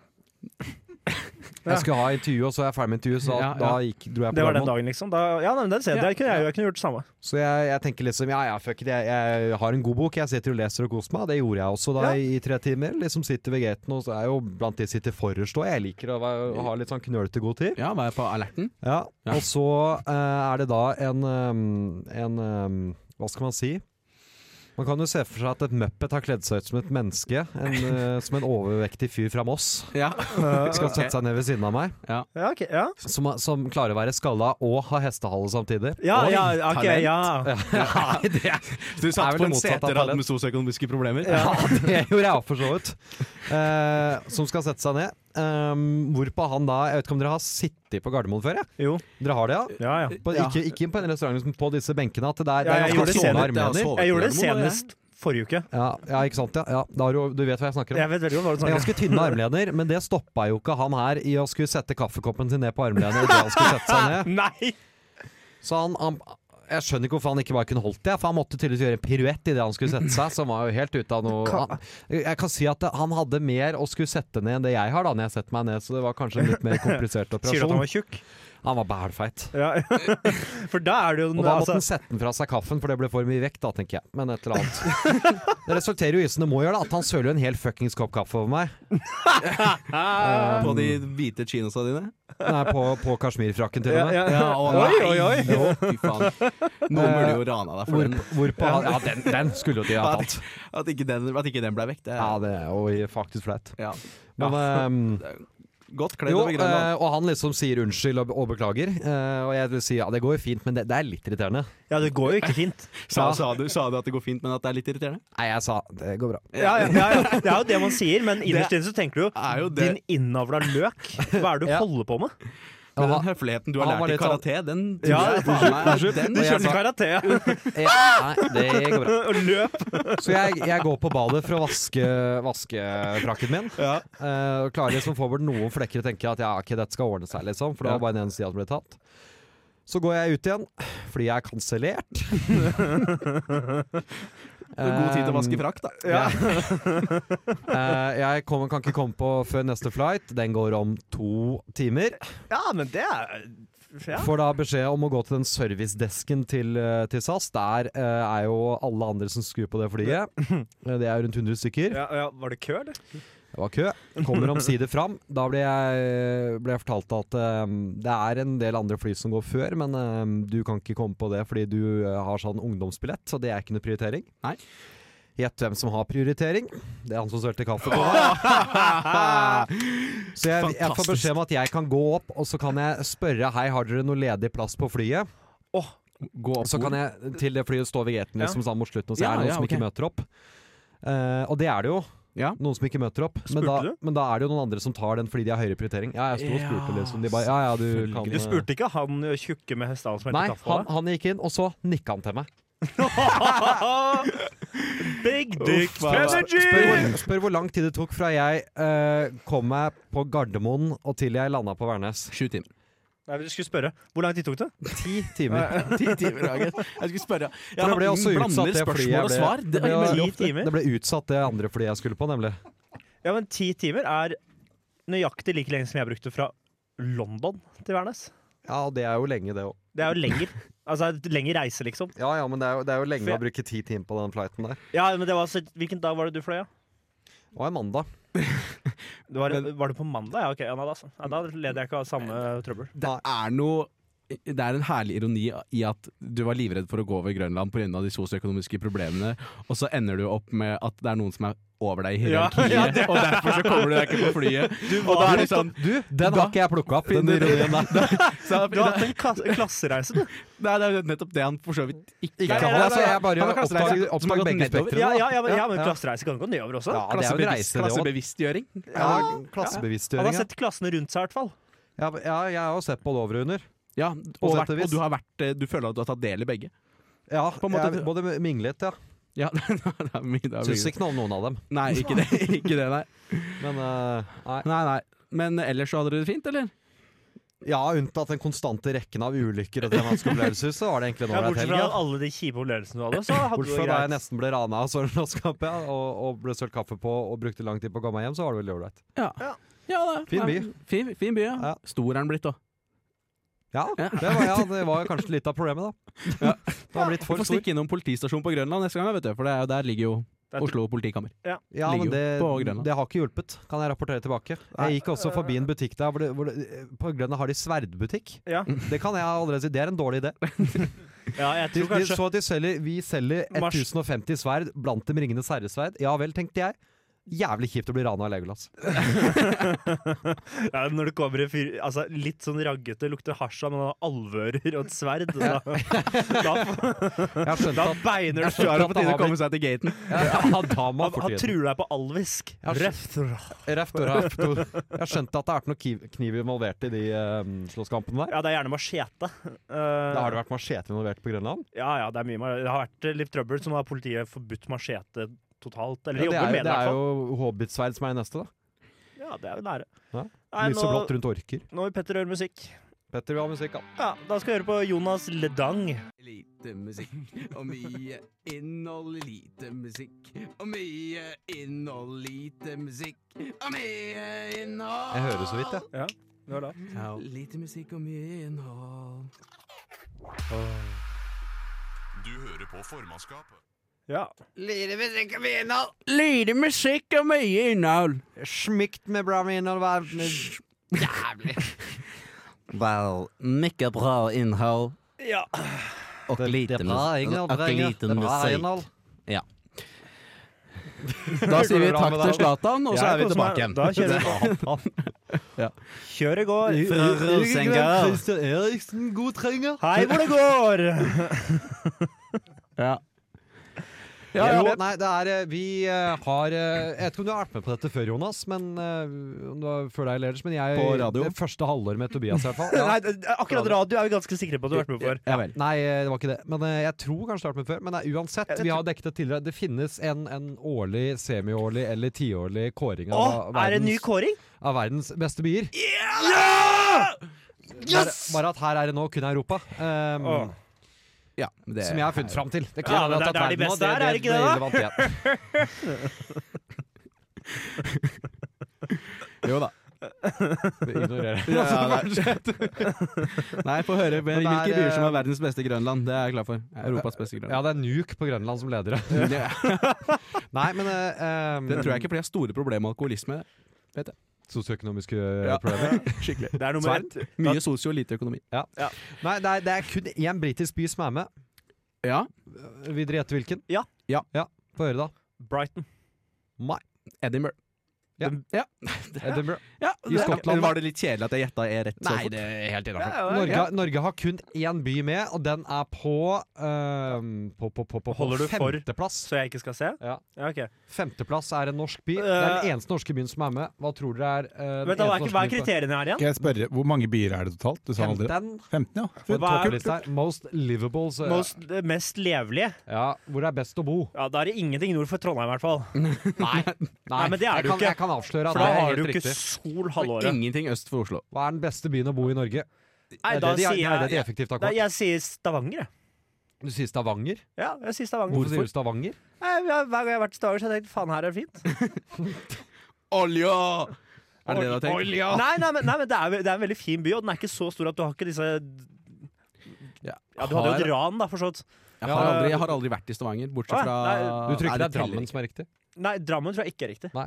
Speaker 6: Ja.
Speaker 7: Jeg skulle ha intervju, og så er jeg ferdig med intervjuet, så
Speaker 5: Ja,
Speaker 7: da
Speaker 5: ja.
Speaker 7: gikk, dro jeg
Speaker 6: Det var
Speaker 7: på
Speaker 6: den
Speaker 7: Gardermoen.
Speaker 6: dagen, liksom. Da, ja, nei, men den ser jeg. Det kunne jeg, jeg kunne gjort det samme.
Speaker 7: Så jeg, jeg tenker liksom ja ja, fuck it, jeg, jeg har en god bok, jeg sitter og leser og koser meg. Det gjorde jeg også da
Speaker 6: Ja.
Speaker 7: i tre timer. Liksom sitter ved gaten, og så er jeg jo blant de som sitter forrest òg. Jeg liker å, være- å ha litt sånn knølete god tid.
Speaker 5: ja, var jeg på alerten?
Speaker 7: Ja,
Speaker 5: Ja.
Speaker 7: og så eh, er det da en, ehm, en ehm, Hva skal man si? Man kan jo se for seg at et muppet har kledd seg ut som et menneske.
Speaker 6: [laughs]
Speaker 7: En, eh, som en overvektig fyr fra Moss.
Speaker 5: Ja.
Speaker 6: Eh,
Speaker 7: [laughs] Skal sette seg ned ved siden av meg.
Speaker 6: Ja, ok, ja.
Speaker 7: Som, som klarer å være skalla og ha hestehale samtidig.
Speaker 6: Ja,
Speaker 5: Oi,
Speaker 6: ja, ok,
Speaker 5: talent.
Speaker 6: ja.
Speaker 7: Ja, det,
Speaker 5: Du satt på
Speaker 7: vel det
Speaker 5: en
Speaker 7: motsatte av
Speaker 5: seterad
Speaker 7: talent.
Speaker 5: med sosioøkonomiske problemer?
Speaker 7: [laughs] ja, det gjorde jeg òg, for så vidt. Eh, som skal sette seg ned. Ehm, hvorpå han da Jeg vet ikke om dere har sittet på Gardermoen før? Ja?
Speaker 6: Jo.
Speaker 7: Dere har det, ja?
Speaker 6: Ja, ja.
Speaker 7: På,
Speaker 5: Ja.
Speaker 7: ikke, ikke på en restaurant, men på disse benkene. At det er,
Speaker 6: Ja,
Speaker 7: det
Speaker 6: jeg
Speaker 7: er ganske
Speaker 6: gjorde det
Speaker 7: sånne
Speaker 6: senere.
Speaker 7: armlener.
Speaker 6: Jeg gjorde det sånn, senest forrige uke.
Speaker 7: Ja, ja ikke sant? Ja, ja. Da har du, du vet hva jeg snakker om.
Speaker 6: Jeg vet veldig godt hva du
Speaker 7: Det er
Speaker 6: snakker om.
Speaker 7: ganske tynne armlener, men det stoppa jo ikke han her i å skulle sette kaffekoppen sin ned på armlenet. i det han skulle sette seg ned.
Speaker 6: Nei!
Speaker 7: Så han, han jeg skjønner ikke hvorfor han ikke bare kunne holdt det. For han måtte tydeligvis gjøre en piruett idet han skulle sette seg. Som var jo helt ute av noe
Speaker 6: Ka-
Speaker 7: han, Jeg kan si at han hadde mer å skulle sette ned enn det jeg har, da, når jeg setter meg ned. Så det var kanskje en litt
Speaker 6: [laughs]
Speaker 7: mer komplisert
Speaker 6: Sier du at han
Speaker 7: operasjon.
Speaker 6: var tjukk?
Speaker 7: Han var bælfeit.
Speaker 6: Ja. [laughs] For da er det jo
Speaker 7: Og
Speaker 6: den
Speaker 7: da måtte
Speaker 6: altså,
Speaker 7: han sette den fra seg kaffen, for det ble for mye vekt, da, tenker jeg. Men et eller annet.
Speaker 6: [laughs]
Speaker 7: Det resulterer jo i, som det må gjøre, da, at han søler jo en hel fuckings kopp kaffe over meg.
Speaker 5: Ah, På de hvite chinosa dine?
Speaker 7: Nei, på, på kasjmirfrakken, til og med.
Speaker 6: ja, ja.
Speaker 5: å
Speaker 6: Oi,
Speaker 5: nei,
Speaker 6: oi, oi!
Speaker 5: jo, fy faen. Noen burde jo rana deg for
Speaker 7: Hvor,
Speaker 5: den.
Speaker 7: hvorpå han Ja, den, den skulle jo de ha tatt.
Speaker 5: At ikke den, at ikke den ble vekk. Det
Speaker 7: Ja,
Speaker 5: er
Speaker 7: det er jo faktisk flaut.
Speaker 5: ja.
Speaker 7: Men ehm,
Speaker 5: godt kledd
Speaker 7: jo,
Speaker 5: over Grønland.
Speaker 7: eh, og han liksom sier unnskyld og, og beklager. eh, og jeg vil si ja, det går jo fint, men det, det er litt irriterende.
Speaker 6: Ja, det går jo ikke fint.
Speaker 5: [laughs] Sa,
Speaker 7: ja.
Speaker 5: sa, du, sa du at det går fint, men at det er litt irriterende?
Speaker 7: Nei, jeg sa det går bra.
Speaker 6: Ja, ja, ja, ja. Det er jo det man sier, men innerst inne så tenker du jo
Speaker 5: Er jo det.
Speaker 6: Din innavla løk, hva er det du
Speaker 7: Ja.
Speaker 6: holder på med?
Speaker 7: Ja,
Speaker 5: Men
Speaker 7: han-
Speaker 5: den høfligheten du har
Speaker 7: han var
Speaker 5: lært i
Speaker 7: litt sånn-
Speaker 5: karate, den tror
Speaker 6: Ja,
Speaker 5: jeg faen meg den,
Speaker 6: Du
Speaker 7: jeg
Speaker 6: kjørte
Speaker 7: sa-
Speaker 6: karate ja.
Speaker 7: Eh, nei, det går bra.
Speaker 6: [laughs] og løp.
Speaker 7: Så jeg, jeg går på badet for å vaske, vaske frakken min.
Speaker 5: ja.
Speaker 7: Eh, og klarer liksom å få bort noen flekker og tenker at ja, ok, dette skal ordne seg, liksom. For det var bare den ene sida som ble tatt. Så går jeg ut igjen, fordi jeg
Speaker 5: [laughs]
Speaker 7: er kansellert.
Speaker 5: God tid til å
Speaker 7: Ehm,
Speaker 5: vaske frakk, da.
Speaker 7: Ja. Eh, jeg kommer, kan ikke komme på før neste flight. Den går om to timer.
Speaker 6: Ja, men det er ja.
Speaker 7: Får da beskjed om å gå til den servicedesken til, eh, til SAS. Der eh, er jo alle andre som skrur på det
Speaker 5: [clears throat]
Speaker 7: flyet. Eh, Det er rundt 100 stykker.
Speaker 6: Ja, ja, var det kø, eller?
Speaker 7: Det var kø. Kommer omsider fram. Da ble jeg, ble jeg fortalt at eh, det er en del andre fly som går før, men eh, du kan ikke komme på det fordi du eh, har sånn ungdomsbillett, så det er ikke noe prioritering.
Speaker 5: Nei.
Speaker 7: Gjett hvem som har prioritering. Det er han som sølte kaffe på meg. [laughs] så jeg, jeg får
Speaker 5: Fantastisk.
Speaker 7: beskjed om at jeg kan gå opp, og så kan jeg spørre Hei, har dere noe ledig plass på flyet.
Speaker 5: Gå opp
Speaker 7: Så kan jeg til det flyet stå ved gaten
Speaker 6: Ja.
Speaker 7: liksom, sånn mot slutten og si
Speaker 5: Ja,
Speaker 7: er det noen
Speaker 5: ja,
Speaker 7: som
Speaker 5: ok.
Speaker 7: ikke møter opp. Eh, og det er det jo.
Speaker 5: Ja.
Speaker 7: Noen som ikke møter opp. Men
Speaker 6: Spurte
Speaker 7: da,
Speaker 6: du?
Speaker 7: men da er det jo noen andre som tar den fordi de har høyere prioritering. Ja, jeg sto og spurte
Speaker 5: Ja,
Speaker 7: liksom. De bare ja, ja, du kan eh,
Speaker 6: Du spurte ikke han tjukke med hestehalen som
Speaker 7: Nei,
Speaker 6: helte kaffe?
Speaker 7: han, han gikk inn, og så nikka han til meg.
Speaker 6: Big dick
Speaker 5: Uff, hva-
Speaker 7: Spør
Speaker 6: strategy!
Speaker 7: hvor, spør hvor lang tid det tok fra jeg eh, kom meg på Gardermoen og til jeg landa på Værnes.
Speaker 5: Sju timer.
Speaker 6: Nei, vi skulle spørre. Hvor lang tid tok det?
Speaker 7: Ti
Speaker 6: [laughs]
Speaker 7: timer.
Speaker 5: [laughs] Ti timer, Agnes. Jeg skulle spørre ja,
Speaker 7: For det ble
Speaker 5: han
Speaker 7: også utsatt,
Speaker 5: blander
Speaker 7: det flyet
Speaker 5: spørsmål og
Speaker 7: ble-
Speaker 5: svar. Det
Speaker 7: det
Speaker 5: er
Speaker 7: ble-
Speaker 5: veldig
Speaker 6: Ti
Speaker 5: ofte.
Speaker 6: timer?
Speaker 7: Det ble utsatt det andre flyet jeg skulle på, nemlig.
Speaker 6: Ja, men ti timer er nøyaktig like lenge som jeg brukte fra London til Værnes.
Speaker 7: Ja, og det er jo lenge, det òg.
Speaker 6: Det er jo
Speaker 7: [laughs]
Speaker 6: lenger. Altså, det er et lengre reise, liksom.
Speaker 7: Ja ja, men det er jo, det er jo lenge
Speaker 6: For
Speaker 7: å bruke ti timer på den flighten der.
Speaker 6: Ja, men det var så, Hvilken dag var det du fløy, ja?
Speaker 7: Det var en mandag.
Speaker 6: Det var, var det på mandag? Ja, ok. Ja, nei, da, så. ja, da led jeg ikke av samme trøbbel.
Speaker 5: Det er noe det er en herlig ironi i at du var livredd for å gå over Grønland pga. de sosioøkonomiske problemene, og så ender du opp med at det er noen som er over deg i
Speaker 6: Ja,
Speaker 7: [laughs]
Speaker 5: hierarkiet,
Speaker 6: ja, det-
Speaker 5: og derfor så kommer du deg ikke på flyet. Og da er det sånn
Speaker 7: Du, den har ikke jeg plukka opp, den
Speaker 5: [laughs]
Speaker 7: ironien der. [laughs]
Speaker 5: så,
Speaker 6: Du har hatt en kas- [laughs] klassereise, du.
Speaker 5: Nei, det er jo nettopp det han for så vidt ikke
Speaker 7: Ikke
Speaker 5: er.
Speaker 7: han, altså, jeg bare
Speaker 5: Han er klassereise,
Speaker 7: oppdager-
Speaker 5: som har
Speaker 7: oppdager
Speaker 5: gått
Speaker 7: begge
Speaker 5: nedover.
Speaker 7: spektrene.
Speaker 6: Ja, ja, ja, men, ja, men
Speaker 7: Ja.
Speaker 6: klassereise kan gå nedover også.
Speaker 7: Ja, det er jo en
Speaker 5: Klassebevisst-
Speaker 7: reise, det òg.
Speaker 5: Klassebevisstgjøring.
Speaker 7: Ja,
Speaker 6: Han
Speaker 7: klassebevisstgjøring.
Speaker 6: har
Speaker 7: Ja.
Speaker 6: sett klassene rundt seg, i hvert fall.
Speaker 7: Ja, ja, jeg har jo sett på det over og under.
Speaker 5: Ja,
Speaker 7: På
Speaker 5: og,
Speaker 7: sett og
Speaker 5: vært,
Speaker 7: vis.
Speaker 5: og du, har vært, eh, du føler at du har tatt del i begge.
Speaker 7: Ja,
Speaker 5: en måte-
Speaker 7: jeg, både minglet, ja.
Speaker 5: Ja, [laughs] det er mye, det er
Speaker 7: Syns
Speaker 5: mye.
Speaker 7: ikke noe om noen av dem.
Speaker 5: Nei, ikke det.
Speaker 7: [laughs]
Speaker 5: Ikke det nei.
Speaker 7: Men eh, nei.
Speaker 5: nei, nei. Men ellers så hadde dere det fint, eller?
Speaker 7: Ja, unntatt den konstante rekken av ulykker og dramatiske så var det egentlig
Speaker 6: Ja,
Speaker 7: en ålreit
Speaker 6: bortsett
Speaker 7: helg.
Speaker 6: fra
Speaker 7: ja.
Speaker 6: alle de kjipe opplevelsene du hadde, så hadde du
Speaker 7: Bortsett
Speaker 6: det
Speaker 7: fra da jeg
Speaker 6: greit.
Speaker 7: nesten ble rana av Sørlandskapet ja, og, og ble sølt kaffe på og brukte lang tid på å komme meg hjem, så var det veldig ålreit.
Speaker 5: Ja. da.
Speaker 7: Fin by.
Speaker 5: Fin, fin by, ja.
Speaker 7: Ja.
Speaker 5: Stor er den blitt òg.
Speaker 7: Ja, det var, ja, det var kanskje litt av problemet, da. Det var blitt
Speaker 5: Får
Speaker 7: for stor.
Speaker 5: stikke innom politistasjonen på Grønland neste gang, vet du. For det er jo der ligger jo
Speaker 6: Det er-
Speaker 5: Oslo politikammer.
Speaker 7: Ja,
Speaker 5: ligger
Speaker 7: men
Speaker 5: jo
Speaker 7: det,
Speaker 5: på Grønland.
Speaker 7: det har ikke hjulpet, kan jeg rapportere tilbake. Jeg gikk også forbi en butikk der hvor, det, hvor det, på Grønland har de sverdbutikk.
Speaker 6: Ja.
Speaker 7: Det kan jeg allerede si, det er en dårlig idé.
Speaker 6: [laughs] ja, jeg
Speaker 7: [laughs] De,
Speaker 6: tror
Speaker 7: de
Speaker 6: kanskje
Speaker 7: så at de selger, vi selger
Speaker 6: Mars.
Speaker 7: 1050 sverd blant dem Ringenes herresverd. Ja vel, tenkte jeg. Jævlig kjipt å bli rana av Legolas.
Speaker 6: ja, Når det kommer en fyr altså, litt sånn raggete, lukter hasj av noen alvører og et sverd, da,
Speaker 7: [laughs]
Speaker 6: da,
Speaker 7: Jeg har skjønt
Speaker 6: da
Speaker 7: at
Speaker 6: beiner du
Speaker 5: Du er
Speaker 7: [laughs] Ja,
Speaker 5: jo på tide
Speaker 7: da har
Speaker 5: å komme seg til gaten.
Speaker 7: ja, da må
Speaker 6: Han,
Speaker 7: jeg
Speaker 6: han
Speaker 7: fortelle.
Speaker 6: truer deg på alvisk.
Speaker 7: Ja,
Speaker 6: Røft.
Speaker 7: Reft og reft og- Jeg har skjønt at det har vært noe kiv- kniv involvert i de um, slåsskampene der.
Speaker 6: Ja, det er gjerne machete. Eh,
Speaker 7: Da har det vært machete involvert på Grønland.
Speaker 6: Ja, ja, det, er mye, ma- det har vært eh, litt trøbbel, så nå har politiet forbudt machete totalt.
Speaker 7: Ja,
Speaker 6: Eller de
Speaker 7: det, er,
Speaker 6: jobber
Speaker 7: jo-
Speaker 6: med
Speaker 7: det
Speaker 6: det, i
Speaker 7: er
Speaker 6: hvert fall.
Speaker 7: jo hobbitsverd som er det neste, da.
Speaker 6: Ja, det er jo nære.
Speaker 7: Ja,
Speaker 6: Nei,
Speaker 7: Lyseblått
Speaker 6: nå,
Speaker 7: rundt orker.
Speaker 6: nå vil Petter høre musikk.
Speaker 7: Petter vil ha musikk, han.
Speaker 6: Ja, da skal vi høre på Jonas Ledang.
Speaker 5: Lite musikk og mye innhold. Lite musikk og mye innhold. Lite musikk og mye innhold.
Speaker 7: Jeg hører så vidt, jeg.
Speaker 6: Ja, det var da.
Speaker 5: Lite musikk og mye innhold.
Speaker 1: Du hører på formannskapet.
Speaker 6: Ja.
Speaker 4: Lite musikk og mye innhold.
Speaker 5: Lite musikk og mye innhold.
Speaker 4: Smykt med bra med innhold. verden er Jævlig.
Speaker 5: Vel, mye bra innhold
Speaker 6: ja.
Speaker 5: og
Speaker 4: Det er bra innhold, drenger. Det er bra innhold.
Speaker 5: Da sier vi takk til Zlatan, og så
Speaker 6: Jeg
Speaker 5: er vi
Speaker 6: koser meg.
Speaker 5: tilbake igjen.
Speaker 6: Da
Speaker 7: [laughs]
Speaker 6: kjører vi.
Speaker 5: Ja.
Speaker 6: Kjør i går.
Speaker 5: Fra Rosenborg.
Speaker 4: Christian Eriksen, god trenger.
Speaker 6: Hei, hvor det går!
Speaker 5: Ja.
Speaker 7: Ja,
Speaker 5: Ja,
Speaker 7: jo, nei, det er eh, Vi eh, har eh, Jeg vet ikke om du har vært med på dette før, Jonas, men eh, om du var før deg, Leders, men jeg
Speaker 5: På radio?
Speaker 7: Det første halvår med Tobias, i hvert fall.
Speaker 6: Nei, akkurat radio er vi ganske sikre på at du har vært med for.
Speaker 5: Ja vel.
Speaker 7: Nei, eh, det var ikke det. Men eh, jeg tror kanskje det har vært med før. Men nei, uansett,
Speaker 6: Jeg- jeg
Speaker 7: vi har dekket det tidligere. Det finnes en, en årlig, semiårlig eller tiårlig kåring
Speaker 6: Å,
Speaker 7: av,
Speaker 6: er det en ny
Speaker 7: verdens,
Speaker 6: kåring?
Speaker 7: av verdens beste byer.
Speaker 6: Yes!
Speaker 7: Bare, bare at her er det nå kun Europa. Um,
Speaker 6: Åh.
Speaker 5: Ja, det,
Speaker 7: Som jeg har funnet fram til. Det
Speaker 6: Ja, men det- det er de beste her, er det ikke det da? [laughs]
Speaker 5: Jo da.
Speaker 7: Ignorerer
Speaker 5: [laughs] Ja, [laughs] Nei, få høre
Speaker 7: Men det er,
Speaker 5: hvilke byer som
Speaker 7: eh,
Speaker 5: er verdens beste Grønland. Det er jeg klar for. Europas beste
Speaker 7: Ja,
Speaker 5: Grønland.
Speaker 7: det er Nuke på Grønland som leder.
Speaker 5: Det,
Speaker 7: [laughs] Nei, men eh,
Speaker 5: [laughs]
Speaker 7: um,
Speaker 5: det tror jeg ikke, for de har store problemer med alkoholisme.
Speaker 7: Sosioøkonomiske eh,
Speaker 5: Ja. [laughs]
Speaker 7: problemer.
Speaker 5: Skikkelig.
Speaker 6: Det er nummer
Speaker 5: Sverre?
Speaker 6: ett.
Speaker 5: Mye sosio, lite økonomi.
Speaker 7: Nei, det er, det er kun én britisk by som er med. Eh,
Speaker 5: Ja.
Speaker 7: Vil dere gjette hvilken?
Speaker 6: Ja.
Speaker 7: ja. Få høre, da.
Speaker 6: Brighton.
Speaker 7: Nei.
Speaker 5: Edinburgh.
Speaker 7: Ja.
Speaker 6: [laughs]
Speaker 5: ja.
Speaker 7: Edinburgh.
Speaker 5: Ja,
Speaker 7: I Skottland,
Speaker 5: Var det litt kjedelig at jeg gjetta er rett så fort?
Speaker 7: det er helt
Speaker 5: Ja, ja, ja.
Speaker 7: Norge, Norge har kun én by med, og den er på, ehm, på, på, på, på,
Speaker 6: Holder
Speaker 7: på
Speaker 6: du for-
Speaker 7: femteplass.
Speaker 6: Så jeg ikke skal se?
Speaker 7: Ja.
Speaker 6: ok.
Speaker 7: Femteplass er en norsk by. Det er
Speaker 6: Eh.
Speaker 7: den eneste norske byen som er med. Hva tror dere
Speaker 6: Vent
Speaker 7: er uh,
Speaker 6: da, Hva er, hva er kriteriene her igjen?
Speaker 8: Skal jeg spørre, Hvor mange byer er det totalt? Du sa aldri
Speaker 7: 15.
Speaker 8: 15, ja.
Speaker 7: På
Speaker 6: Hva er-
Speaker 7: topplista her. Most eh, livable. Så,
Speaker 6: Most, det mest levelige?
Speaker 7: ja, hvor det er best å bo.
Speaker 6: Ja, Da er det ingenting nord for Trondheim, i hvert fall.
Speaker 7: [laughs] Nei,
Speaker 6: [laughs] Nei, men det er
Speaker 7: jeg
Speaker 6: det jo
Speaker 7: kan,
Speaker 6: ikke.
Speaker 7: Jeg kan avsløre at
Speaker 6: For da
Speaker 7: Mm. det er
Speaker 6: har
Speaker 7: helt
Speaker 6: du ikke
Speaker 7: riktig.
Speaker 6: sol
Speaker 5: Og
Speaker 6: halvåret.
Speaker 5: Ingenting øst for Oslo.
Speaker 7: Hva er den beste byen å bo i Norge?
Speaker 6: Nei,
Speaker 7: Det er
Speaker 6: da
Speaker 7: det de-
Speaker 6: sier
Speaker 7: det er det de
Speaker 6: jeg
Speaker 7: effektivt har
Speaker 6: Nei,
Speaker 7: kåret.
Speaker 6: Jeg sier Stavanger, jeg.
Speaker 7: Du sier Stavanger.
Speaker 6: Ja, jeg sier Stavanger.
Speaker 7: Hvorfor sier du Stavanger?
Speaker 6: Nei, jeg- Hver gang jeg har vært i Stavanger, så har jeg tenkt faen, her er
Speaker 5: [laughs]
Speaker 6: det fint.
Speaker 5: Olja! Er det det du har tenkt?
Speaker 6: Nei, nei, men, nei, men det, er, det er en veldig fin by, og den er ikke så stor at du har ikke disse
Speaker 5: Ja.
Speaker 6: Ja, du hadde jo et
Speaker 5: Har-
Speaker 6: ran, da, for så vidt.
Speaker 5: Jeg har, aldri, jeg har aldri vært i Stavanger, bortsett
Speaker 6: Å,
Speaker 5: fra
Speaker 6: nei,
Speaker 7: Du tror ikke
Speaker 5: Nei,
Speaker 7: det er Drammen som er riktig?
Speaker 6: Nei, Drammen tror jeg ikke er riktig.
Speaker 7: Hva,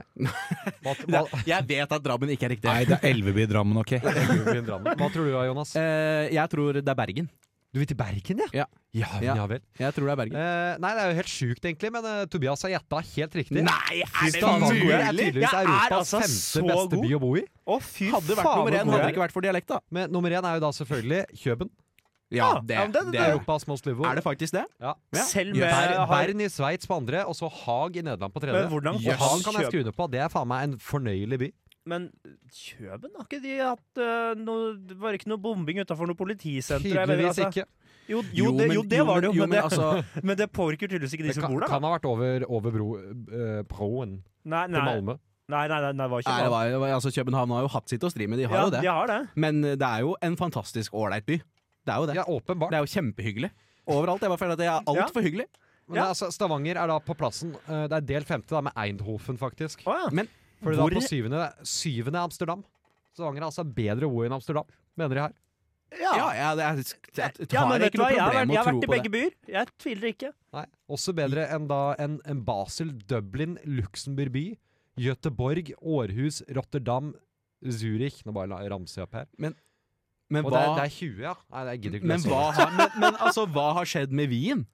Speaker 7: hva, [laughs]
Speaker 5: teller ikke. Jeg vet at Drammen ikke er riktig.
Speaker 8: Nei, det er Elveby i Drammen, OK.
Speaker 7: hva tror du da, Jonas?
Speaker 5: Eh, jeg tror det er Bergen.
Speaker 7: Du vil til Bergen,
Speaker 5: Ja.
Speaker 7: Ja,
Speaker 5: Ja.
Speaker 7: ja vel.
Speaker 5: Jeg tror det er Bergen.
Speaker 7: Eh, nei, det er jo helt sjukt, egentlig, men eh, Tobias har gjetta helt riktig.
Speaker 5: Nei, er
Speaker 7: Stavanger er tydeligvis
Speaker 6: Jeg er
Speaker 7: Europas
Speaker 6: altså så
Speaker 7: femte beste
Speaker 6: god.
Speaker 7: by å bo i.
Speaker 6: Å, fy
Speaker 5: Hadde vært
Speaker 6: faen,
Speaker 5: nummer
Speaker 6: hvor
Speaker 5: én, hadde
Speaker 6: god jeg
Speaker 5: det
Speaker 6: er.
Speaker 5: ikke vært for dialekt, da. Ah,
Speaker 7: Men nummer én er jo da selvfølgelig Kjøben.
Speaker 5: Ja,
Speaker 6: Ja,
Speaker 5: det,
Speaker 6: ja, men
Speaker 5: det,
Speaker 6: det- det-
Speaker 5: er jo
Speaker 7: Europas most livable.
Speaker 5: Er det faktisk det?
Speaker 7: Ja.
Speaker 5: Ja.
Speaker 6: Selv med
Speaker 5: Ja,
Speaker 7: Ber,
Speaker 6: Eh, har-
Speaker 7: Bern i Sveits på andre, og så Haag i Nederland på tredje.
Speaker 6: Men hvordan
Speaker 7: og Haag kan jeg
Speaker 6: Kjøben-
Speaker 7: skru det på. Det er faen meg en fornøyelig by.
Speaker 6: Men Kjøben, har ikke de hatt eh, noe Det var ikke noe bombing utafor noe politisenter? jeg mener,
Speaker 7: Tydeligvis
Speaker 6: altså.
Speaker 7: ikke.
Speaker 6: Jo, jo, det, jo, det var det jo,
Speaker 5: jo,
Speaker 6: men, det,
Speaker 5: men [laughs] altså
Speaker 6: men det påvirker tydeligvis ikke de
Speaker 7: Det
Speaker 6: som
Speaker 7: kan,
Speaker 6: bor der. da.
Speaker 7: kan ha vært over, over bro, eh, broen
Speaker 6: Nei, nei,
Speaker 7: til Malmø.
Speaker 6: nei, nei, nei, det var ikke
Speaker 5: Nei, det
Speaker 6: Malmø.
Speaker 5: var, det var- altså, København har jo hatt sitt å stri med, de har
Speaker 6: ja,
Speaker 5: jo det.
Speaker 6: De har det.
Speaker 5: Men eh, det er jo en fantastisk ålreit by. Det er jo det.
Speaker 7: Ja, åpenbart.
Speaker 5: Det er jo kjempehyggelig. Overalt. Jeg bare føler at det er altfor hyggelig.
Speaker 7: Men
Speaker 6: Ja.
Speaker 7: altså, Stavanger er da på plassen. eh, det er del femte, da, med Eindhoven, faktisk.
Speaker 6: Å ja.
Speaker 5: Men
Speaker 7: Fordi
Speaker 6: Hvor-
Speaker 7: da på syvende, syvende er Amsterdam. Stavanger er altså bedre å bo i enn Amsterdam, mener de her.
Speaker 6: Ja.
Speaker 5: ja, ja det er, jeg, jeg,
Speaker 6: Ja,
Speaker 5: har
Speaker 6: men vet
Speaker 5: ikke
Speaker 6: du hva,
Speaker 5: noe
Speaker 6: jeg har vært,
Speaker 5: problem med å
Speaker 6: jeg har
Speaker 5: tro
Speaker 6: vært i
Speaker 5: på
Speaker 6: begge
Speaker 5: det.
Speaker 6: byer. Jeg tviler ikke.
Speaker 7: Nei. Også bedre enn da en, en Basel, Dublin, Luxembourg by, Göteborg, Århus, Rotterdam, Zurich Nå bare la- ramser jeg opp her.
Speaker 5: Men hva,
Speaker 7: Og det, er, det er 20, ja. Nei, jeg gidder ikke
Speaker 5: men,
Speaker 7: lese
Speaker 5: hva
Speaker 7: over.
Speaker 5: har, men, men altså, hva har skjedd med Wien?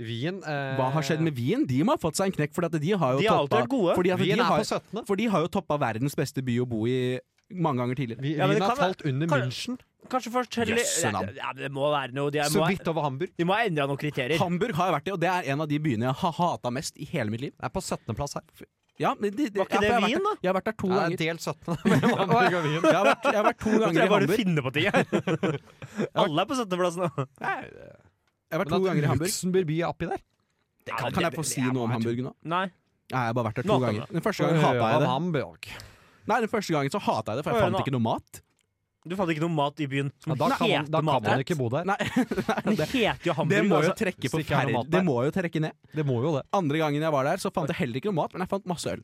Speaker 7: Wien eh,
Speaker 5: Hva har skjedd med Wien? De må ha fått seg en knekk, for at de har jo
Speaker 6: De har alltid
Speaker 5: toppa
Speaker 6: vært gode.
Speaker 5: Fordi at
Speaker 7: Wien
Speaker 5: de
Speaker 7: er
Speaker 5: har,
Speaker 7: på 17.
Speaker 5: for de har jo toppa verdens beste by å bo i mange ganger tidligere.
Speaker 7: Vi,
Speaker 6: Ja, men
Speaker 7: Wien
Speaker 6: det
Speaker 7: har
Speaker 6: kan være-
Speaker 7: falt under
Speaker 6: kan-
Speaker 7: München,
Speaker 6: Kanskje fortell litt
Speaker 5: Jøsse
Speaker 6: ja,
Speaker 5: navn.
Speaker 6: ja, Det må være noe. De
Speaker 7: så
Speaker 6: må,
Speaker 7: vidt over Hamburg.
Speaker 6: de må ha endra noen kriterier.
Speaker 5: Hamburg har jeg vært i, og det er en av de byene jeg har hata mest i hele mitt liv.
Speaker 7: Det er på 17. plass her.
Speaker 5: Ja, men de, de,
Speaker 6: Var ikke det
Speaker 5: ja, for jeg har vært
Speaker 6: Wien,
Speaker 5: der- Jeg har vært der to
Speaker 7: Det er
Speaker 5: ganger.
Speaker 7: delt
Speaker 5: [laughs]
Speaker 7: 17. mellom Hamburg og Wien.
Speaker 5: Jeg har vært, jeg har vært to
Speaker 6: Nå tror
Speaker 5: ganger i
Speaker 6: jeg bare du
Speaker 5: Hamburg.
Speaker 6: finner på
Speaker 5: [laughs]
Speaker 6: ting her. Alle er på 17.-plass nå.
Speaker 5: Jeg har vært
Speaker 7: Men
Speaker 5: to
Speaker 7: at
Speaker 5: ganger i Hamburg.
Speaker 7: Luxembourg by er oppi der.
Speaker 5: Kan, kan jeg få si noe om Hamburg nå?
Speaker 6: Nei.
Speaker 5: Nei, jeg har bare vært der to
Speaker 6: Nå kan
Speaker 5: ganger. Den første gangen hata jeg det.
Speaker 7: Hamburg.
Speaker 5: Nei, den første gangen så hata jeg det, for jeg
Speaker 6: Hør
Speaker 5: fant
Speaker 6: nå.
Speaker 5: ikke noe mat.
Speaker 6: Du fant ikke noe mat i byen som
Speaker 7: Ja, da kan, man,
Speaker 6: heter
Speaker 7: da kan man
Speaker 6: matrett.
Speaker 7: ikke bo der.
Speaker 5: Nei, [laughs] nei
Speaker 6: Det
Speaker 5: det,
Speaker 6: heter jo
Speaker 5: det må
Speaker 6: hamburger.
Speaker 5: jo
Speaker 6: altså.
Speaker 5: trekke
Speaker 7: hvis det
Speaker 5: på
Speaker 7: ikke er noe
Speaker 5: ferder.
Speaker 7: mat der.
Speaker 5: Det må jo trekke ned.
Speaker 7: Det må jo det.
Speaker 5: Andre gangen jeg var der, så fant jeg heller ikke noe mat, men jeg fant masse øl.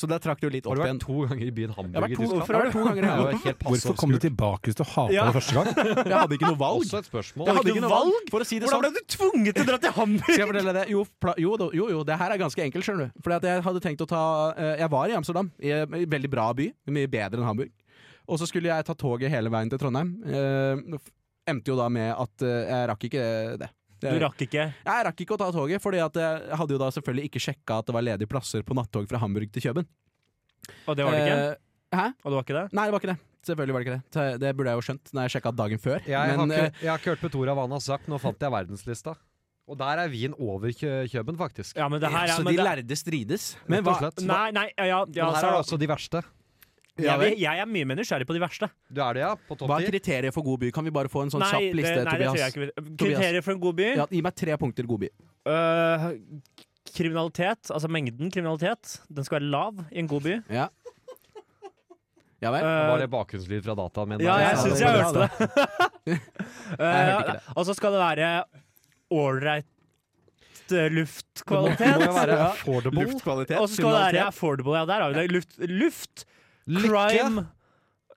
Speaker 5: Så der trakk det jo litt
Speaker 7: Har
Speaker 5: opp
Speaker 7: du
Speaker 5: igjen.
Speaker 7: vært to ganger i
Speaker 5: Jeg
Speaker 7: byen
Speaker 5: har
Speaker 7: Hamburg i
Speaker 5: vært to,
Speaker 7: Tyskland?
Speaker 5: hvorfor har jeg vært to ganger i
Speaker 7: Det er jo
Speaker 5: helga?
Speaker 7: helt
Speaker 8: Hvorfor kom du
Speaker 7: passivt.
Speaker 8: tilbake hvis du hata
Speaker 6: Ja.
Speaker 8: det første gang?
Speaker 5: Jeg hadde ikke noe valg.
Speaker 7: Også et spørsmål.
Speaker 5: Jeg hadde
Speaker 6: ikke
Speaker 5: ikke noe
Speaker 6: valg?
Speaker 5: valg, for å si det
Speaker 6: Hvordan
Speaker 5: sånn.
Speaker 6: ble du tvunget til å dra til Hamburg?
Speaker 5: [laughs] Skal jeg fortelle det? Jo, pla jo, da- jo, jo, det her er ganske enkelt, skjønner du. Fordi at jeg hadde tenkt å ta eh, Jeg var i Amsterdam, i en veldig bra by. Mye bedre enn Hamburg. Og så skulle jeg ta toget hele veien til Trondheim. Eh, f- endte jo da med at eh, jeg rakk ikke det.
Speaker 6: Du rakk ikke.
Speaker 5: Jeg rakk ikke å ta toget, Fordi at jeg hadde jo da selvfølgelig ikke sjekka at det var ledige plasser på nattog fra Hamburg til Kjøben.
Speaker 6: Og det var det ikke?
Speaker 5: Eh, Hæ?
Speaker 6: Og det var ikke det?
Speaker 5: Nei, det var ikke det. Selvfølgelig var det ikke det. Så Det burde jeg jo skjønt når jeg sjekka dagen før.
Speaker 7: Jeg,
Speaker 5: Men
Speaker 7: har
Speaker 5: eh,
Speaker 7: ikke, jeg har ikke hørt Petora hva han har sagt, nå fant jeg verdenslista. Og der er Wien over Kjø- Kjøben, faktisk.
Speaker 6: Ja, men det her
Speaker 5: så de
Speaker 6: er men det,
Speaker 5: lærde strides.
Speaker 7: Rett og slett.
Speaker 6: Nei, nei, ja, ja, ja
Speaker 7: Men her er det
Speaker 6: altså,
Speaker 7: også de verste.
Speaker 6: jeg, jeg er mye mer nysgjerrig på de verste.
Speaker 7: Du er det, ja? På topp
Speaker 5: Hva er
Speaker 7: ti?
Speaker 5: kriteriet for god by? Kan vi bare få en sånn
Speaker 6: nei,
Speaker 5: kjapp liste,
Speaker 6: det, nei, det tror jeg
Speaker 5: Tobias?
Speaker 6: ikke. Kriterier for en god by?
Speaker 5: Ja, gi meg tre punkter god by.
Speaker 6: Øh, kriminalitet, altså mengden kriminalitet, den skal være lav i en god by.
Speaker 5: Ja. Ja vel?
Speaker 6: Øh,
Speaker 7: Var det bakgrunnslyd fra dataen min?
Speaker 6: ja,
Speaker 7: Nei,
Speaker 6: jeg
Speaker 7: det
Speaker 6: syns
Speaker 7: var
Speaker 6: jeg
Speaker 7: det.
Speaker 6: hørte det.
Speaker 5: Jeg hørte ikke det.
Speaker 6: Øh, Og så skal det være ålreit øh,
Speaker 7: Det må jo
Speaker 6: luftkvalitet.
Speaker 7: være affordable.
Speaker 5: Luftkvalitet,
Speaker 6: Og så skal det være affordable. Ja, der har vi det. Luft, luft crime.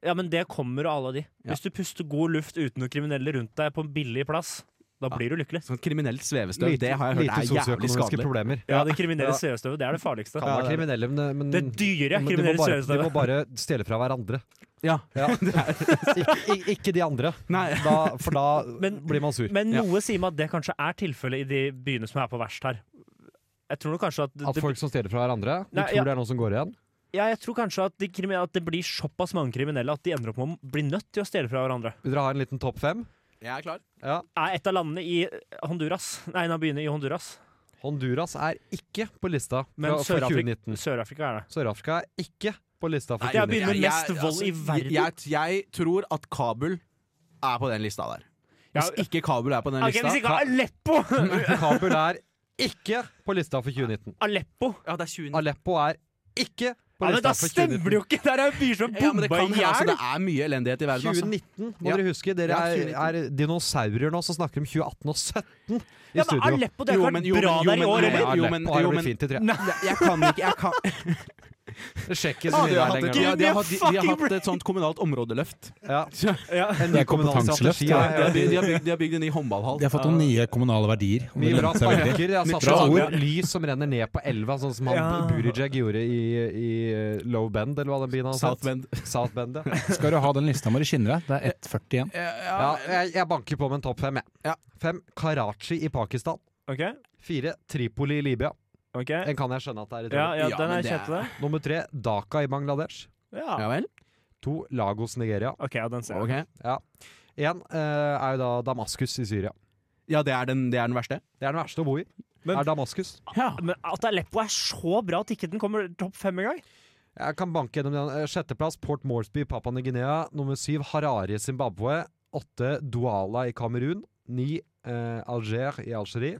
Speaker 6: Ja, men det kommer av alle de.
Speaker 5: Ja.
Speaker 6: Hvis du puster god luft uten noen kriminelle rundt deg på en billig plass, da
Speaker 5: Ja.
Speaker 6: blir du lykkelig.
Speaker 5: Sånn kriminelt svevestøv, det har jeg hørt
Speaker 7: lite
Speaker 5: er jævlig
Speaker 7: sosioøkonomiske
Speaker 5: skadelig.
Speaker 7: problemer.
Speaker 6: Ja, det kriminelle
Speaker 7: Ja.
Speaker 6: svevestøvet, det er det farligste.
Speaker 7: Kan være kriminelle, men, men
Speaker 6: Det dyre
Speaker 7: men de, må
Speaker 6: kriminelle
Speaker 7: bare, de må
Speaker 6: svevestøvet.
Speaker 7: bare stjele fra hverandre.
Speaker 5: Ja.
Speaker 7: [laughs] Ja. ikke, ik- ikke de andre,
Speaker 5: Nei.
Speaker 7: da, for da
Speaker 6: [laughs] Men-
Speaker 7: blir man sur.
Speaker 6: Men
Speaker 5: Ja.
Speaker 6: noe sier meg at det kanskje er tilfellet i de byene som er på verst her. Jeg tror nok kanskje at,
Speaker 7: At
Speaker 6: det,
Speaker 7: folk som stjeler fra hverandre? Du
Speaker 6: Nei,
Speaker 7: tror
Speaker 6: ja.
Speaker 7: det er noen som går igjen?
Speaker 6: ja, jeg tror kanskje at, de krimi- at det blir såpass mange kriminelle at de ender opp med å bli nødt til å stjele fra hverandre.
Speaker 7: Vil dere ha en liten topp fem?
Speaker 5: Jeg er klar.
Speaker 7: Ja.
Speaker 6: Er et av landene i Honduras Nei, en av byene i Honduras.
Speaker 7: Honduras er ikke på lista
Speaker 6: Men
Speaker 7: fra, fra
Speaker 6: Sør-Afrika
Speaker 7: 2019.
Speaker 6: Sør-Afrika er det.
Speaker 7: Sør-Afrika er ikke på lista for
Speaker 6: Det er byen
Speaker 7: 2019.
Speaker 6: med mest vold i verden.
Speaker 5: Jeg, jeg tror at Kabul er på den lista der.
Speaker 6: Ja,
Speaker 5: Hvis ikke Kabul er på den
Speaker 6: Ok,
Speaker 5: lista
Speaker 6: hvis ikke Aleppo!
Speaker 5: [laughs]
Speaker 7: Kabul er ikke på lista for 2019.
Speaker 6: Aleppo!
Speaker 5: Ja, det er 20
Speaker 7: Aleppo er ikke
Speaker 6: Ja,
Speaker 7: på
Speaker 6: men
Speaker 7: lista
Speaker 6: da
Speaker 7: for
Speaker 6: stemmer det
Speaker 7: 2019.
Speaker 6: jo ikke! Der er jo byer som
Speaker 5: ja, men det kan
Speaker 6: bomba i
Speaker 5: hende. Altså,
Speaker 6: hjel!
Speaker 5: det er mye elendighet i verden. Altså.
Speaker 7: 2019 må
Speaker 5: Ja.
Speaker 7: dere huske. Dere
Speaker 5: Ja,
Speaker 7: er, er dinosaurer nå som snakker om 2018 og 17 i
Speaker 6: Ja, men
Speaker 7: studio.
Speaker 6: Aleppo, det har ikke vært bra der i år,
Speaker 5: jo,
Speaker 6: eller?
Speaker 5: men- jo, men-
Speaker 7: Aleppo har
Speaker 5: jo,
Speaker 7: jo blitt
Speaker 5: men-
Speaker 7: fint i tre.
Speaker 5: Jeg kan ikke jeg
Speaker 6: [laughs]
Speaker 5: kan,
Speaker 7: Sjekk ikke
Speaker 5: Ja,
Speaker 7: så
Speaker 5: de, har
Speaker 7: mye der
Speaker 5: hatt et,
Speaker 7: lenger.
Speaker 5: de,
Speaker 7: nå.
Speaker 5: har- de, har, de, de har hatt et sånt kommunalt områdeløft.
Speaker 7: Ja.
Speaker 6: Ja.
Speaker 7: En
Speaker 8: Det
Speaker 7: ny
Speaker 8: er
Speaker 7: kommunal
Speaker 8: kompetanseløft,
Speaker 7: strategi.
Speaker 8: ja.
Speaker 5: De har, byg- de har, bygd, de har bygd en ny håndballhall.
Speaker 8: De har fått noen nye kommunale verdier. om
Speaker 7: Mye
Speaker 8: det
Speaker 7: bra
Speaker 8: lønner seg veldig.
Speaker 7: sparker. Jeg satt
Speaker 8: Bra
Speaker 7: på
Speaker 8: ord.
Speaker 7: lys som renner ned på elva, sånn som han
Speaker 6: Ja.
Speaker 7: Buttigieg gjorde i, i Low Bend, eller hva den byen han
Speaker 5: South Bend.
Speaker 7: South Bend, ja.
Speaker 8: Skal du ha den lista må du skynde deg.
Speaker 7: [laughs]
Speaker 8: Det er 1,40 igjen.
Speaker 7: ja jeg, jeg banker på med en topp fem, jeg.
Speaker 5: Ja.
Speaker 7: Fem Karachi i Pakistan.
Speaker 6: Ok,
Speaker 7: Fire Tripoli i Libya.
Speaker 6: ok.
Speaker 7: Den kan jeg skjønne at det er i
Speaker 6: Ja,
Speaker 7: Tripoli.
Speaker 5: Ja,
Speaker 6: ja, den
Speaker 5: men
Speaker 6: er
Speaker 5: det er-
Speaker 6: kjent det.
Speaker 7: Nummer tre Dhaka i Bangladesh.
Speaker 5: Ja vel?
Speaker 7: To Lagos, Nigeria.
Speaker 6: Ok, ja, den ser jeg.
Speaker 5: Ok.
Speaker 7: Én eh, er jo da Damaskus i Syria.
Speaker 5: Ja, det er den, det er den verste?
Speaker 7: Det er den verste å bo i.
Speaker 6: Men-
Speaker 7: er Damaskus.
Speaker 5: Ja.
Speaker 6: Men at Aleppo er så bra at ikke den kommer topp fem engang?
Speaker 7: Jeg kan banke gjennom den. Eh, Sjetteplass Port Moresby i Papua Ny-Guinea. Nummer syv Harare i Zimbabwe. Åtte Douala i Kamerun. Ni eh, Alger i Algerie.
Speaker 6: Det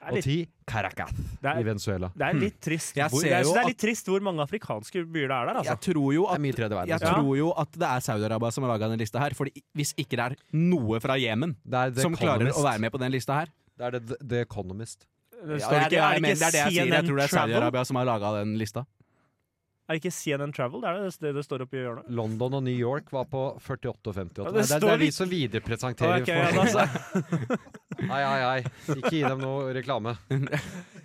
Speaker 6: er
Speaker 7: Og
Speaker 6: litt,
Speaker 7: ti Caracas
Speaker 6: det
Speaker 7: i
Speaker 6: er,
Speaker 7: Venezuela.
Speaker 6: det er litt trist.
Speaker 5: Jeg
Speaker 6: Hvor,
Speaker 5: ser
Speaker 6: jeg
Speaker 5: jo
Speaker 6: synes det
Speaker 5: at-
Speaker 6: er litt trist hvor mange afrikanske byer det er der, altså.
Speaker 5: Jeg tror jo
Speaker 7: Det er
Speaker 5: at
Speaker 7: mye tredje verden.
Speaker 5: jeg
Speaker 7: så.
Speaker 5: tror jo at det er Saudi-Arabia som har laga denne lista her. Fordi hvis ikke det er noe fra Jemen
Speaker 7: Det er The
Speaker 5: som klarer
Speaker 7: Economist.
Speaker 5: å være med på den lista her
Speaker 7: Det er The, The Economist.
Speaker 6: Det
Speaker 5: Ja,
Speaker 6: står
Speaker 5: jeg-
Speaker 6: ikke,
Speaker 5: jeg
Speaker 6: er det
Speaker 5: mener-
Speaker 6: ikke
Speaker 5: det er det jeg sier. Jeg
Speaker 6: CNN
Speaker 5: tror det er
Speaker 6: Travel?
Speaker 5: Saudi-Arabia som har laga den lista.
Speaker 6: Er det ikke CNN Travel? Det er det det, det står oppi hjørnet.
Speaker 7: London og New York var på 48 og 58.
Speaker 6: Ja, det
Speaker 7: Nei, det, er- det
Speaker 6: står
Speaker 7: er vi
Speaker 6: ikke-
Speaker 7: som viderepresenterer
Speaker 6: Ok, ja, da,
Speaker 7: informasjon.
Speaker 6: så-
Speaker 7: [laughs] Ai, ai, ai. Ikke gi dem noe reklame.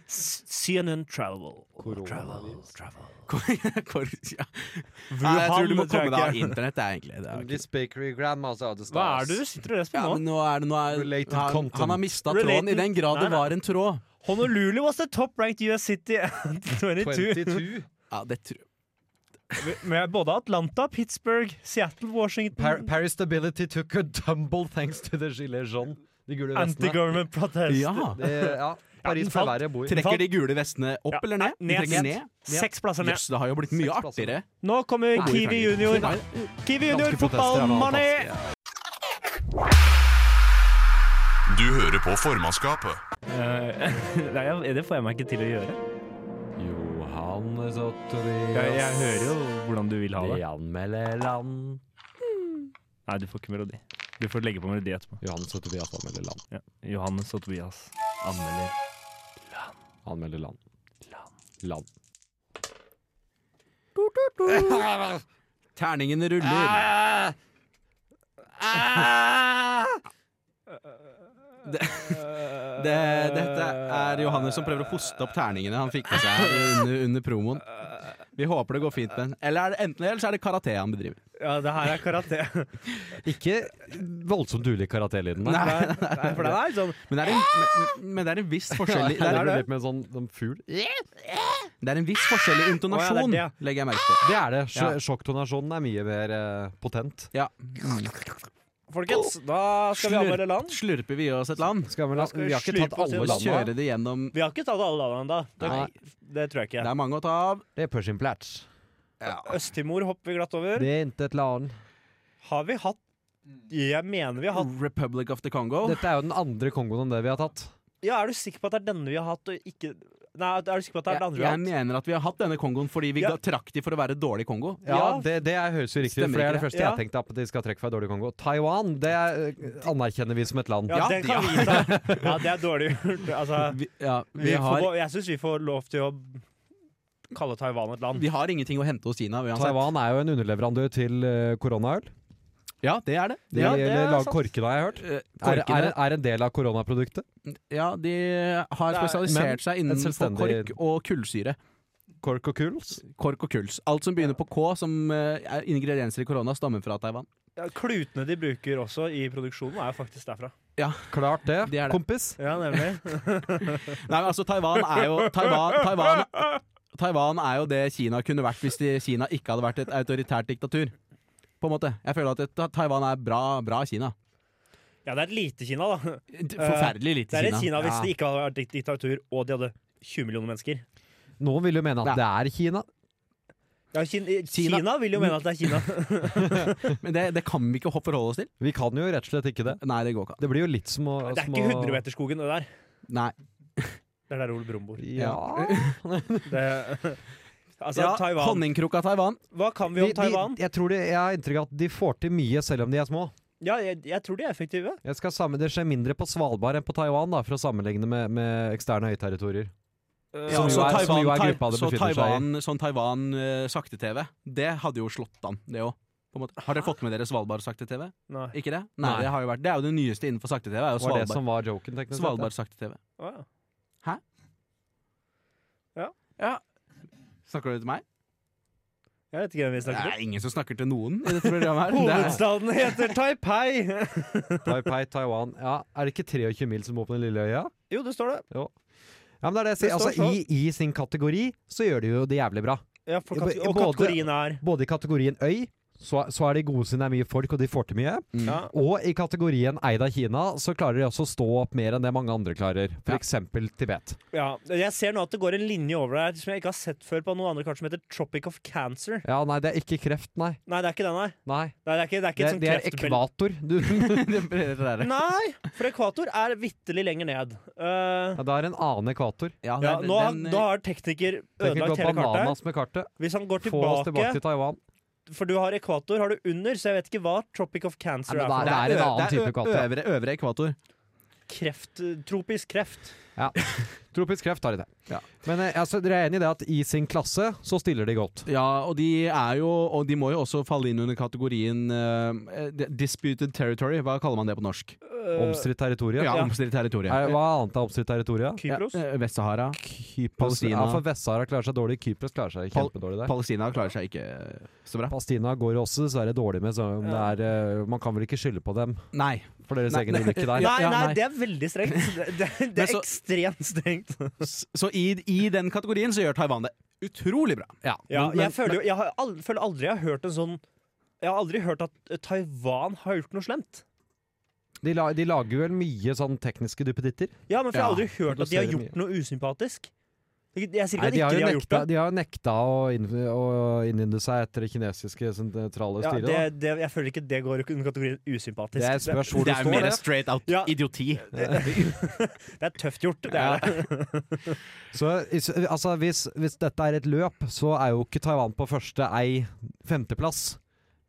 Speaker 6: S- CNN Travel.
Speaker 7: Koronavirus.
Speaker 6: Travel,
Speaker 5: [laughs]
Speaker 6: travel.
Speaker 5: Hvor- ja. Nei, jeg tror du må komme deg av internett, det er egentlig. Det er ikke-
Speaker 7: This bakery grandma's are the
Speaker 6: Hva er
Speaker 7: stars.
Speaker 6: det du sitter og leser på
Speaker 5: Ja, men
Speaker 6: nå?
Speaker 5: nå er det, nå er,
Speaker 7: Related
Speaker 5: han,
Speaker 7: content.
Speaker 5: han har mista
Speaker 6: Related-
Speaker 5: tråden i den grad
Speaker 6: Nei,
Speaker 5: det
Speaker 6: nei.
Speaker 5: var en tråd.
Speaker 6: Honolulu was the top ranked US city [laughs] at 22.
Speaker 7: 22.
Speaker 5: Ja, det tror
Speaker 6: Med både Atlanta, Pittsburgh, Seattle,
Speaker 7: Par
Speaker 6: Washington
Speaker 7: Paris stability took a tumble thanks to the gilet jaune. De gule vestene.
Speaker 6: Anti-government protest.
Speaker 5: Ja.
Speaker 7: Det, ja, Paris
Speaker 6: den
Speaker 7: ble
Speaker 6: falt.
Speaker 7: verre å bo i.
Speaker 5: Trekker de gule vestene opp
Speaker 6: Ja,
Speaker 5: eller ned? De
Speaker 6: nei,
Speaker 5: trekker ned.
Speaker 6: Seks plasser ned.
Speaker 5: Jøss, det har jo blitt mye
Speaker 7: Seks plasser.
Speaker 5: artigere.
Speaker 6: Nå kommer
Speaker 5: Nei,
Speaker 6: Kiwi
Speaker 5: Frankrike.
Speaker 6: Junior.
Speaker 5: Nei,
Speaker 6: Kiwi Junior,
Speaker 7: protester er noe
Speaker 6: fotballmoney!
Speaker 1: Du hører på formannskapet.
Speaker 6: Eh, [laughs] Nei, jeg- det får jeg meg ikke til å gjøre.
Speaker 7: Johannes
Speaker 6: Jeg, jeg hører jo hvordan du vil ha det.
Speaker 7: anmelder land.
Speaker 6: Nei, du får ikke melodi. Du får legge på melodi etterpå.
Speaker 7: Johannes og Tobias anmelder land.
Speaker 6: Ja. Johannes og Tobias anmelder.
Speaker 7: Anmelder land. Land.
Speaker 5: Terningene ruller. Det, dette er Johannes som prøver å hoste opp terningene han fikk med seg under, under promoen. Vi håper det går fint med den. Eller er det enten eller så er det karate han bedriver.
Speaker 6: Ja, det her er karate.
Speaker 7: Ikke voldsomt ulik karatelyden.
Speaker 6: Nei, nei, for den er sånn
Speaker 5: Men det er en, men, men det er en viss
Speaker 7: [laughs]
Speaker 5: forskjell i det
Speaker 7: det
Speaker 5: er,
Speaker 7: blir litt med en sånn, sånn fugl.
Speaker 5: det er en viss forskjell i
Speaker 6: Å, ja,
Speaker 5: intonasjon,
Speaker 6: det er det,
Speaker 5: legger jeg merke til.
Speaker 7: Det er det. Sj
Speaker 5: Ja.
Speaker 7: Sjokktonasjonen er mye mer eh, potent.
Speaker 5: Ja.
Speaker 6: Folkens, da skal vi anmelde land.
Speaker 5: Slurper vi i oss et land?
Speaker 7: Skal vi, la,
Speaker 6: skal vi
Speaker 7: vi har ikke
Speaker 6: slippe
Speaker 7: tatt
Speaker 6: oss
Speaker 7: alle
Speaker 5: Og
Speaker 6: gjennom
Speaker 7: landene.
Speaker 5: kjøre det gjennom
Speaker 6: Vi har ikke tatt alle landene ennå. Det,
Speaker 7: Nei.
Speaker 6: det tror jeg
Speaker 5: Det
Speaker 6: ikke.
Speaker 5: er mange å ta av.
Speaker 7: Det er pushing plats.
Speaker 6: Øst-Timor hopper vi glatt over.
Speaker 7: Det er intet land.
Speaker 6: Har vi hatt Jeg mener vi har hatt
Speaker 5: Republic of the Congo.
Speaker 7: Dette er jo den andre Kongoen enn det vi har tatt.
Speaker 6: Ja, er du sikker på at det er denne vi har hatt, og ikke Nei, er du sikker på at det er den
Speaker 5: Jeg,
Speaker 6: andre vi har
Speaker 5: jeg
Speaker 6: hatt?
Speaker 5: mener at vi har hatt denne Kongoen fordi vi
Speaker 6: Ja.
Speaker 5: ga- trakk de for å være dårlig Kongo.
Speaker 7: Ja,
Speaker 6: Ja.
Speaker 7: Det, det er høres jo riktig ut,
Speaker 5: Stemmer
Speaker 7: for det
Speaker 5: ikke
Speaker 7: er det
Speaker 5: det?
Speaker 7: første jeg
Speaker 6: Ja.
Speaker 7: tenkte på at de skal trekke fra dårlig Kongo. Taiwan det er, eh, anerkjenner vi som et land.
Speaker 6: Ja,
Speaker 5: Ja,
Speaker 6: den
Speaker 5: ja.
Speaker 6: kan vi ta. Ja, det er dårlig gjort. Altså,
Speaker 5: Vi, ja, vi,
Speaker 6: vi
Speaker 5: har,
Speaker 6: får, jeg syns vi får lov til å kalle Taiwan et land.
Speaker 5: vi har ingenting å hente hos Kina uansett.
Speaker 7: Taiwan er jo en underleverandør til eh, koronaøl.
Speaker 5: Ja, det er det.
Speaker 7: De
Speaker 5: ja, det
Speaker 7: lager
Speaker 5: sant.
Speaker 7: korkene, har jeg hørt.
Speaker 5: Eh,
Speaker 7: Er, er,
Speaker 5: Korkene,
Speaker 7: er en del av koronaproduktet.
Speaker 5: ja, de har
Speaker 6: Det er-
Speaker 7: men
Speaker 5: spesialisert seg
Speaker 7: et
Speaker 5: innenfor
Speaker 7: selvstendig-
Speaker 5: kork og kullsyre.
Speaker 7: Kork og kuls.
Speaker 5: Kork og kuls. Alt som begynner på K, som eh, er ingredienser i korona, stammer fra Taiwan.
Speaker 6: Ja, klutene de bruker også i produksjonen, er jo faktisk derfra.
Speaker 7: Klart det,
Speaker 5: Det er det.
Speaker 7: kompis.
Speaker 6: Ja, nemlig.
Speaker 5: Nei, men altså, Taiwan er jo Taiwan, Taiwan, Taiwan er jo det Kina kunne vært hvis de, Kina ikke hadde vært et autoritært diktatur. På en måte. Jeg føler at et, Taiwan er bra, bra Kina.
Speaker 6: [laughs] Ja, det er et lite Kina, da.
Speaker 5: Forferdelig lite
Speaker 6: Det er et Kina hvis
Speaker 5: Ja.
Speaker 6: det ikke hadde vært dikt- diktatur, og de hadde 20 millioner mennesker.
Speaker 7: Noen vil jo mene at
Speaker 5: Nei.
Speaker 7: det er Kina.
Speaker 6: Ja, Kina,
Speaker 5: Kina-
Speaker 6: Kina vil jo mene at det er [laughs] Kina.
Speaker 5: Men det, det kan vi ikke ho- forholde oss til.
Speaker 7: Vi kan jo rett og slett ikke det.
Speaker 5: Nei, det går ikke. an.
Speaker 7: Det blir jo litt som å
Speaker 6: Det er
Speaker 7: som
Speaker 6: ikke
Speaker 7: å-
Speaker 6: 100-meterskogen, det der.
Speaker 5: Nei.
Speaker 6: Det er der Ole [laughs] Brumm bor.
Speaker 7: Ja.
Speaker 6: Det, altså,
Speaker 5: Ja,
Speaker 6: Taiwan.
Speaker 5: Honningkrukka Taiwan.
Speaker 6: Hva kan vi
Speaker 7: De,
Speaker 6: om
Speaker 7: de,
Speaker 6: Taiwan?
Speaker 7: jeg tror de, jeg har inntrykk av at de får til mye selv om de er små.
Speaker 6: Ja, jeg, jeg tror de er effektive.
Speaker 7: Jeg skal sammen, det skjer mindre på Svalbard enn på Taiwan, da, for å sammenligne med, med eksterne øyterritorier.
Speaker 6: Eh,
Speaker 5: Ja,
Speaker 6: altså
Speaker 7: Som jo
Speaker 5: Eh, så
Speaker 7: er- som jo er
Speaker 5: Tai-
Speaker 7: gruppa det
Speaker 5: så
Speaker 7: befinner seg i.
Speaker 5: Taiwan, Sånn Taiwan eh, sakte-TV, det hadde jo slått an, det òg. Har dere fått med dere Svalbard sakte-TV?
Speaker 6: Nei.
Speaker 5: Ikke det? Nei,
Speaker 7: Nei.
Speaker 5: Det har jo vært Det er jo det nyeste innenfor sakte-TV. er jo
Speaker 7: Det var det
Speaker 5: Svalbard,
Speaker 7: som var joken, teknisk
Speaker 5: Svalbard sakte-TV.
Speaker 6: Å, ja.
Speaker 5: Snakker du til meg?
Speaker 6: Jeg vet ikke hvem vi
Speaker 5: Det
Speaker 6: snakker om.
Speaker 5: er ingen som snakker til noen i dette programmet. her Det er-
Speaker 6: Hovedstaden heter Taipei!
Speaker 7: [laughs]
Speaker 6: [laughs]
Speaker 7: Taipei, Taiwan. Ja, er det ikke 23 mil som bor på den lille øya?
Speaker 6: Jo, det står det.
Speaker 7: Ja, men det er det
Speaker 6: Det
Speaker 7: jeg sier.
Speaker 6: står
Speaker 7: Altså, i, I sin kategori så gjør de jo det jævlig bra.
Speaker 6: Ja, for
Speaker 7: Både-
Speaker 6: kate og
Speaker 7: både-
Speaker 6: kategorien er
Speaker 7: Både i kategorien øy, så, så er de gode siden det er mye folk og de får til mye.
Speaker 6: ja.
Speaker 7: Og i kategorien eid av Kina så klarer de også å stå opp mer enn det mange andre klarer.
Speaker 5: Ja.
Speaker 7: F.eks. Tibet.
Speaker 6: ja. Jeg ser nå at det går en linje over der som jeg ikke har sett før på noen andre kart som heter Tropic of Cancer.
Speaker 7: Ja, nei, det er ikke kreft, nei.
Speaker 6: Nei, det er ikke den her.
Speaker 7: Nei,
Speaker 6: Nei, det er ikke, sånn det er ikke
Speaker 7: Det,
Speaker 6: et
Speaker 7: det er
Speaker 6: sånt kreftbel-
Speaker 7: ekvator. Du, [laughs]
Speaker 5: det er- [laughs] det er det.
Speaker 6: Nei, for ekvator er vitterlig lenger ned. Eh,
Speaker 7: ja, det er en annen ekvator.
Speaker 5: Ja, det
Speaker 6: ja,
Speaker 5: er-
Speaker 6: nå har,
Speaker 5: den, eh,
Speaker 6: da har tekniker
Speaker 7: Tenk å
Speaker 6: ødelagt
Speaker 7: gå
Speaker 6: hele kartet.
Speaker 7: bananas med kartet.
Speaker 6: Hvis han går
Speaker 7: Få oss tilbake
Speaker 6: tilbake,
Speaker 7: til Taiwan.
Speaker 6: for du har ekvator, har du under, så jeg vet ikke hva Tropic of
Speaker 7: Nei,
Speaker 6: Cancer
Speaker 7: men
Speaker 6: er for
Speaker 7: det
Speaker 6: noe.
Speaker 7: er en
Speaker 5: ø-
Speaker 7: annen
Speaker 5: det er
Speaker 7: type
Speaker 5: ø-
Speaker 7: katt, ja.
Speaker 5: Øvre, øvre ekvator.
Speaker 6: Kreft, eh, tropisk kreft.
Speaker 7: Tropisk kreft har de det.
Speaker 5: Ja.
Speaker 7: Men eh, altså, dere er enig i det at i sin klasse så stiller de godt.
Speaker 5: Ja, og de er jo Og de må jo også falle inn under kategorien eh, de- disputed territory. Hva kaller man det på norsk?
Speaker 6: Eh,
Speaker 7: Omstridt territorium.
Speaker 5: Ja, omstridt territorium.
Speaker 7: Er, hva annet er omstridt territorium?
Speaker 6: Kypros.
Speaker 5: Ja, eh, Vest-Sahara.
Speaker 7: Ja,
Speaker 5: Palestina.
Speaker 7: for Vest-Sahara klarer seg dårlig. Kypros klarer seg
Speaker 5: Pal-
Speaker 7: kjempedårlig der.
Speaker 5: Palestina klarer seg ikke eh, så bra.
Speaker 7: Palestina går det også dessverre dårlig med, så om det
Speaker 6: Ja.
Speaker 7: er, eh, man kan vel ikke skylde på dem
Speaker 5: Nei.
Speaker 7: for deres
Speaker 5: Nei,
Speaker 7: egen
Speaker 5: nei.
Speaker 7: ulykke der.
Speaker 5: Ja,
Speaker 6: Nei,
Speaker 5: ja,
Speaker 6: nei,
Speaker 5: nei.
Speaker 6: det er veldig strengt. Det, det, det
Speaker 5: Men
Speaker 6: er
Speaker 5: så-
Speaker 6: ekstremt strengt.
Speaker 5: S- Så i, i den kategorien så gjør Taiwan det utrolig bra.
Speaker 6: Ja,
Speaker 5: Men- men-
Speaker 6: jeg føler, jo, jeg har aldri, føler aldri jeg har hørt en sånn Jeg har aldri hørt at eh, Taiwan har gjort noe slemt.
Speaker 7: De, la, de lager vel mye sånn tekniske duppeditter.
Speaker 6: Ja, men for Jeg har aldri hørt at de har
Speaker 7: produserer
Speaker 6: gjort noe usympatisk. Jeg jeg sier ikke
Speaker 7: Nei,
Speaker 6: at
Speaker 7: de
Speaker 6: ikke
Speaker 7: har
Speaker 6: de
Speaker 7: jo
Speaker 6: har gjort
Speaker 7: nekta,
Speaker 6: det.
Speaker 7: de har jo nekta å, inn, å innynde seg etter det kinesiske sentrale
Speaker 6: Ja,
Speaker 7: styret.
Speaker 6: det,
Speaker 7: da.
Speaker 6: det, jeg føler ikke det går under kategorien usympatisk.
Speaker 7: Det er spørs hvor du
Speaker 5: Det er
Speaker 7: står.
Speaker 5: mer
Speaker 7: det.
Speaker 5: straight out
Speaker 6: Ja.
Speaker 5: idioti.
Speaker 6: det er tøft gjort. Det er det. [laughs]
Speaker 7: Så is- altså, hvis, hvis dette er et løp, så er jo ikke Taiwan på første ei femteplass.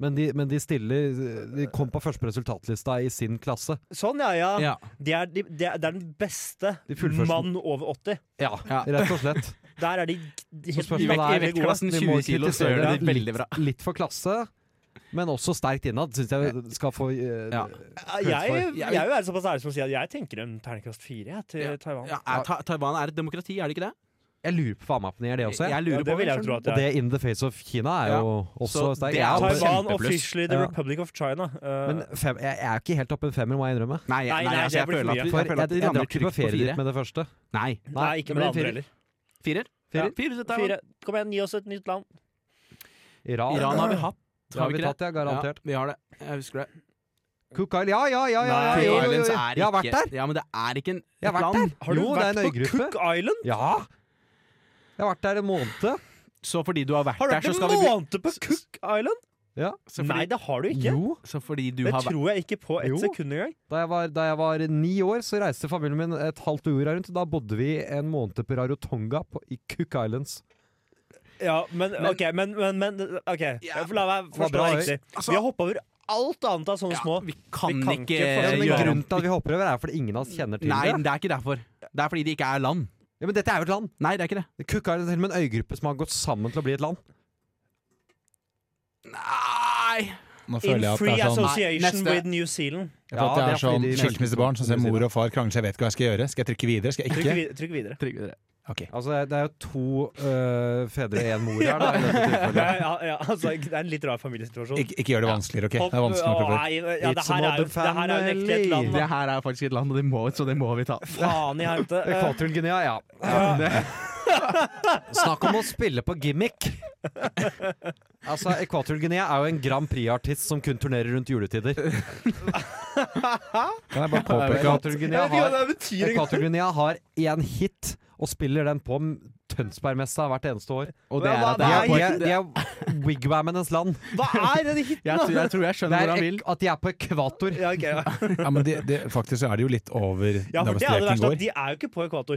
Speaker 7: Men de, men de stiller De kom på første på resultatlista i sin klasse.
Speaker 6: Sånn, ja, ja.
Speaker 5: Ja.
Speaker 6: Det, er, de, det, er, det er den beste
Speaker 7: De fullførte.
Speaker 6: mann over 80.
Speaker 7: Ja,
Speaker 5: Ja.
Speaker 7: rett og slett.
Speaker 6: Der er de g- helt
Speaker 7: spørsmålet
Speaker 6: jævlig
Speaker 7: er-
Speaker 5: I
Speaker 6: gode.
Speaker 5: vektklassen
Speaker 7: Vi må
Speaker 5: 20 kilo så
Speaker 7: kritisere
Speaker 5: gjør de det
Speaker 7: litt-
Speaker 5: veldig bra.
Speaker 7: Litt for klasse, men også sterkt innad, syns jeg skal få eh,
Speaker 5: Ja.
Speaker 6: Jeg,
Speaker 7: Kult for-
Speaker 6: jeg vil være såpass ærlig som å si at jeg tenker en terningkast fire jeg, til
Speaker 5: Ja.
Speaker 6: Taiwan.
Speaker 5: Ja, er, Ta- Taiwan er et demokrati, er det ikke det?
Speaker 7: Jeg lurer på hva mappen gjør det også. Jeg.
Speaker 5: Jeg lurer
Speaker 6: Ja, det vil
Speaker 5: på
Speaker 6: jeg tro at
Speaker 7: Og
Speaker 6: det er.
Speaker 7: det in the face of Kina er jo også
Speaker 5: Så
Speaker 7: sterkt.
Speaker 5: det
Speaker 7: Jeg
Speaker 5: er
Speaker 7: er oppe-
Speaker 6: Taiwan
Speaker 5: kjempepluss.
Speaker 6: officially the
Speaker 7: Ja.
Speaker 6: Republic of China. Eh,
Speaker 7: Men fem, jeg, jeg er ikke helt oppe i femmer, må jeg innrømme.
Speaker 5: Nei,
Speaker 6: Nei,
Speaker 5: nei,
Speaker 6: nei,
Speaker 5: altså,
Speaker 6: det
Speaker 5: jeg
Speaker 6: blir
Speaker 5: føler at,
Speaker 6: for mye.
Speaker 5: jeg
Speaker 7: For
Speaker 5: føler
Speaker 7: jeg,
Speaker 5: at de
Speaker 7: jeg
Speaker 5: rammer
Speaker 7: drar ikke på
Speaker 5: trygt på
Speaker 7: ferie dit
Speaker 5: fire.
Speaker 7: med det første.
Speaker 5: Nei.
Speaker 6: nei, ikke med
Speaker 7: Nei,
Speaker 6: det
Speaker 7: det blir
Speaker 6: andre heller.
Speaker 5: Firer?
Speaker 7: Firer.
Speaker 5: Ja, Firer til Taiwan.
Speaker 6: Fire. Kom igjen, gi oss et nytt land.
Speaker 7: Iran,
Speaker 5: Iran har vi hatt.
Speaker 7: det har vi
Speaker 5: ikke det?
Speaker 7: tatt, ja. Garantert.
Speaker 5: Ja, vi har det. Jeg husker det.
Speaker 7: Cook Island, ja, ja, ja! ja, ja,
Speaker 5: Cook
Speaker 7: jo, jo,
Speaker 5: Islands
Speaker 7: jo.
Speaker 5: er
Speaker 7: Jeg har vært
Speaker 5: ikke-
Speaker 7: der!
Speaker 5: Ja, men det er ikke en
Speaker 7: Jeg har vært
Speaker 5: land.
Speaker 7: der.
Speaker 6: Har du
Speaker 7: Jo, det er
Speaker 6: vært
Speaker 7: en
Speaker 6: på
Speaker 7: øygruppe.
Speaker 6: Cook Island?
Speaker 7: Ja! Jeg har vært der en måned.
Speaker 5: Så fordi du har vært
Speaker 6: Har du
Speaker 5: der,
Speaker 6: vært
Speaker 5: så
Speaker 6: en
Speaker 5: skal vi bli
Speaker 6: måned på Cook Island?
Speaker 7: Ja.
Speaker 5: så
Speaker 6: Nei,
Speaker 5: fordi,
Speaker 6: det har du ikke.
Speaker 7: Jo.
Speaker 5: så fordi du
Speaker 6: Det
Speaker 5: har vært
Speaker 6: tror jeg ikke på ett
Speaker 7: Jo.
Speaker 6: sekund engang.
Speaker 7: Da jeg, var, da jeg var ni år, så reiste familien min et halvt år rundt. Da bodde vi en måned på Rarotonga på, i Cook Islands.
Speaker 6: Ja, men, ok, men, men, men ok. La meg
Speaker 7: var
Speaker 6: forstå
Speaker 7: bra,
Speaker 6: deg riktig. Vi har hoppa over alt annet av sånne
Speaker 5: ja,
Speaker 6: små.
Speaker 5: Vi kan,
Speaker 6: Vi kan
Speaker 5: ikke
Speaker 6: ikke få-
Speaker 7: Ja, men
Speaker 5: gjøre
Speaker 7: grunnen til at vi hopper over, er fordi ingen av oss kjenner til
Speaker 5: Eh, Nei,
Speaker 7: det.
Speaker 5: det er ikke derfor. Det er fordi det ikke er land.
Speaker 7: Ja, men dette er jo et land!
Speaker 5: Nei, det er ikke det.
Speaker 7: Cook Island er til og med en øygruppe som har gått sammen til å bli et land.
Speaker 5: Nei!
Speaker 8: Nå
Speaker 6: In
Speaker 8: føler jeg at det
Speaker 6: free
Speaker 8: er sånn Jeg
Speaker 6: association
Speaker 5: neste-
Speaker 6: with New Zealand.
Speaker 8: føler at
Speaker 7: altså. Ja, det
Speaker 8: jeg
Speaker 7: er
Speaker 8: er
Speaker 7: fordi
Speaker 8: sånn
Speaker 7: de-
Speaker 8: skilsmissebarn som ser mor og far krangle, jeg vet ikke hva jeg skal gjøre. Skal jeg trykke videre, skal jeg
Speaker 6: Trykk,
Speaker 8: ikke?
Speaker 6: vid trykk videre.
Speaker 8: Ok.
Speaker 7: Altså, det er jo to øh, fedre og én mor her. Da, i
Speaker 6: Ja,
Speaker 7: dette tilfellet.
Speaker 6: [laughs] ja, ja, altså, det er en litt rar familiesituasjon.
Speaker 8: Ikke, ikke gjør det vanskeligere, OK?
Speaker 6: Hopp-
Speaker 8: Det er vanskelig nok
Speaker 6: Å,
Speaker 8: å prøve.
Speaker 6: nei, ja, det her
Speaker 7: It's a
Speaker 6: er jo
Speaker 7: modern
Speaker 6: det her er jo en ekte et land.
Speaker 5: Det her er faktisk et land, og det må, så det må vi ta.
Speaker 6: da. Faen i helvete. Eh,
Speaker 7: Ekvatorial-Guinea, ja. [laughs] Snakk om å spille på gimmick! Altså, Ekvatorial-Guinea er jo en Grand Prix-artist som kun turnerer rundt juletider.
Speaker 8: Kan jeg bare påpeke at
Speaker 7: Ekvatorial-Guinea
Speaker 6: jeg vet
Speaker 7: har,
Speaker 6: ikke hva det betyr engang.
Speaker 7: Ekvatorial-Guinea har én hit, og spiller den på Tønsbergmessa hvert eneste år.
Speaker 5: Og det
Speaker 6: Men
Speaker 5: er at
Speaker 6: hva-
Speaker 7: De
Speaker 5: det
Speaker 7: er,
Speaker 5: er
Speaker 7: de
Speaker 5: på
Speaker 7: er,
Speaker 5: et-
Speaker 7: de er wigwamenes land.
Speaker 6: Hva er den hiten,
Speaker 5: jeg, tror-
Speaker 6: da?
Speaker 5: jeg tror jeg
Speaker 7: Det
Speaker 5: skjønner
Speaker 7: er
Speaker 5: hvor han vil.
Speaker 7: ek at de er på ekvator.
Speaker 6: Ja, ok, ja.
Speaker 8: ja, men det, det, Faktisk så er det jo litt over
Speaker 6: ja,
Speaker 8: der
Speaker 6: for det
Speaker 8: hvor
Speaker 6: er det
Speaker 8: streken
Speaker 6: verste. at
Speaker 8: går.
Speaker 6: De er jo ikke på ekvator.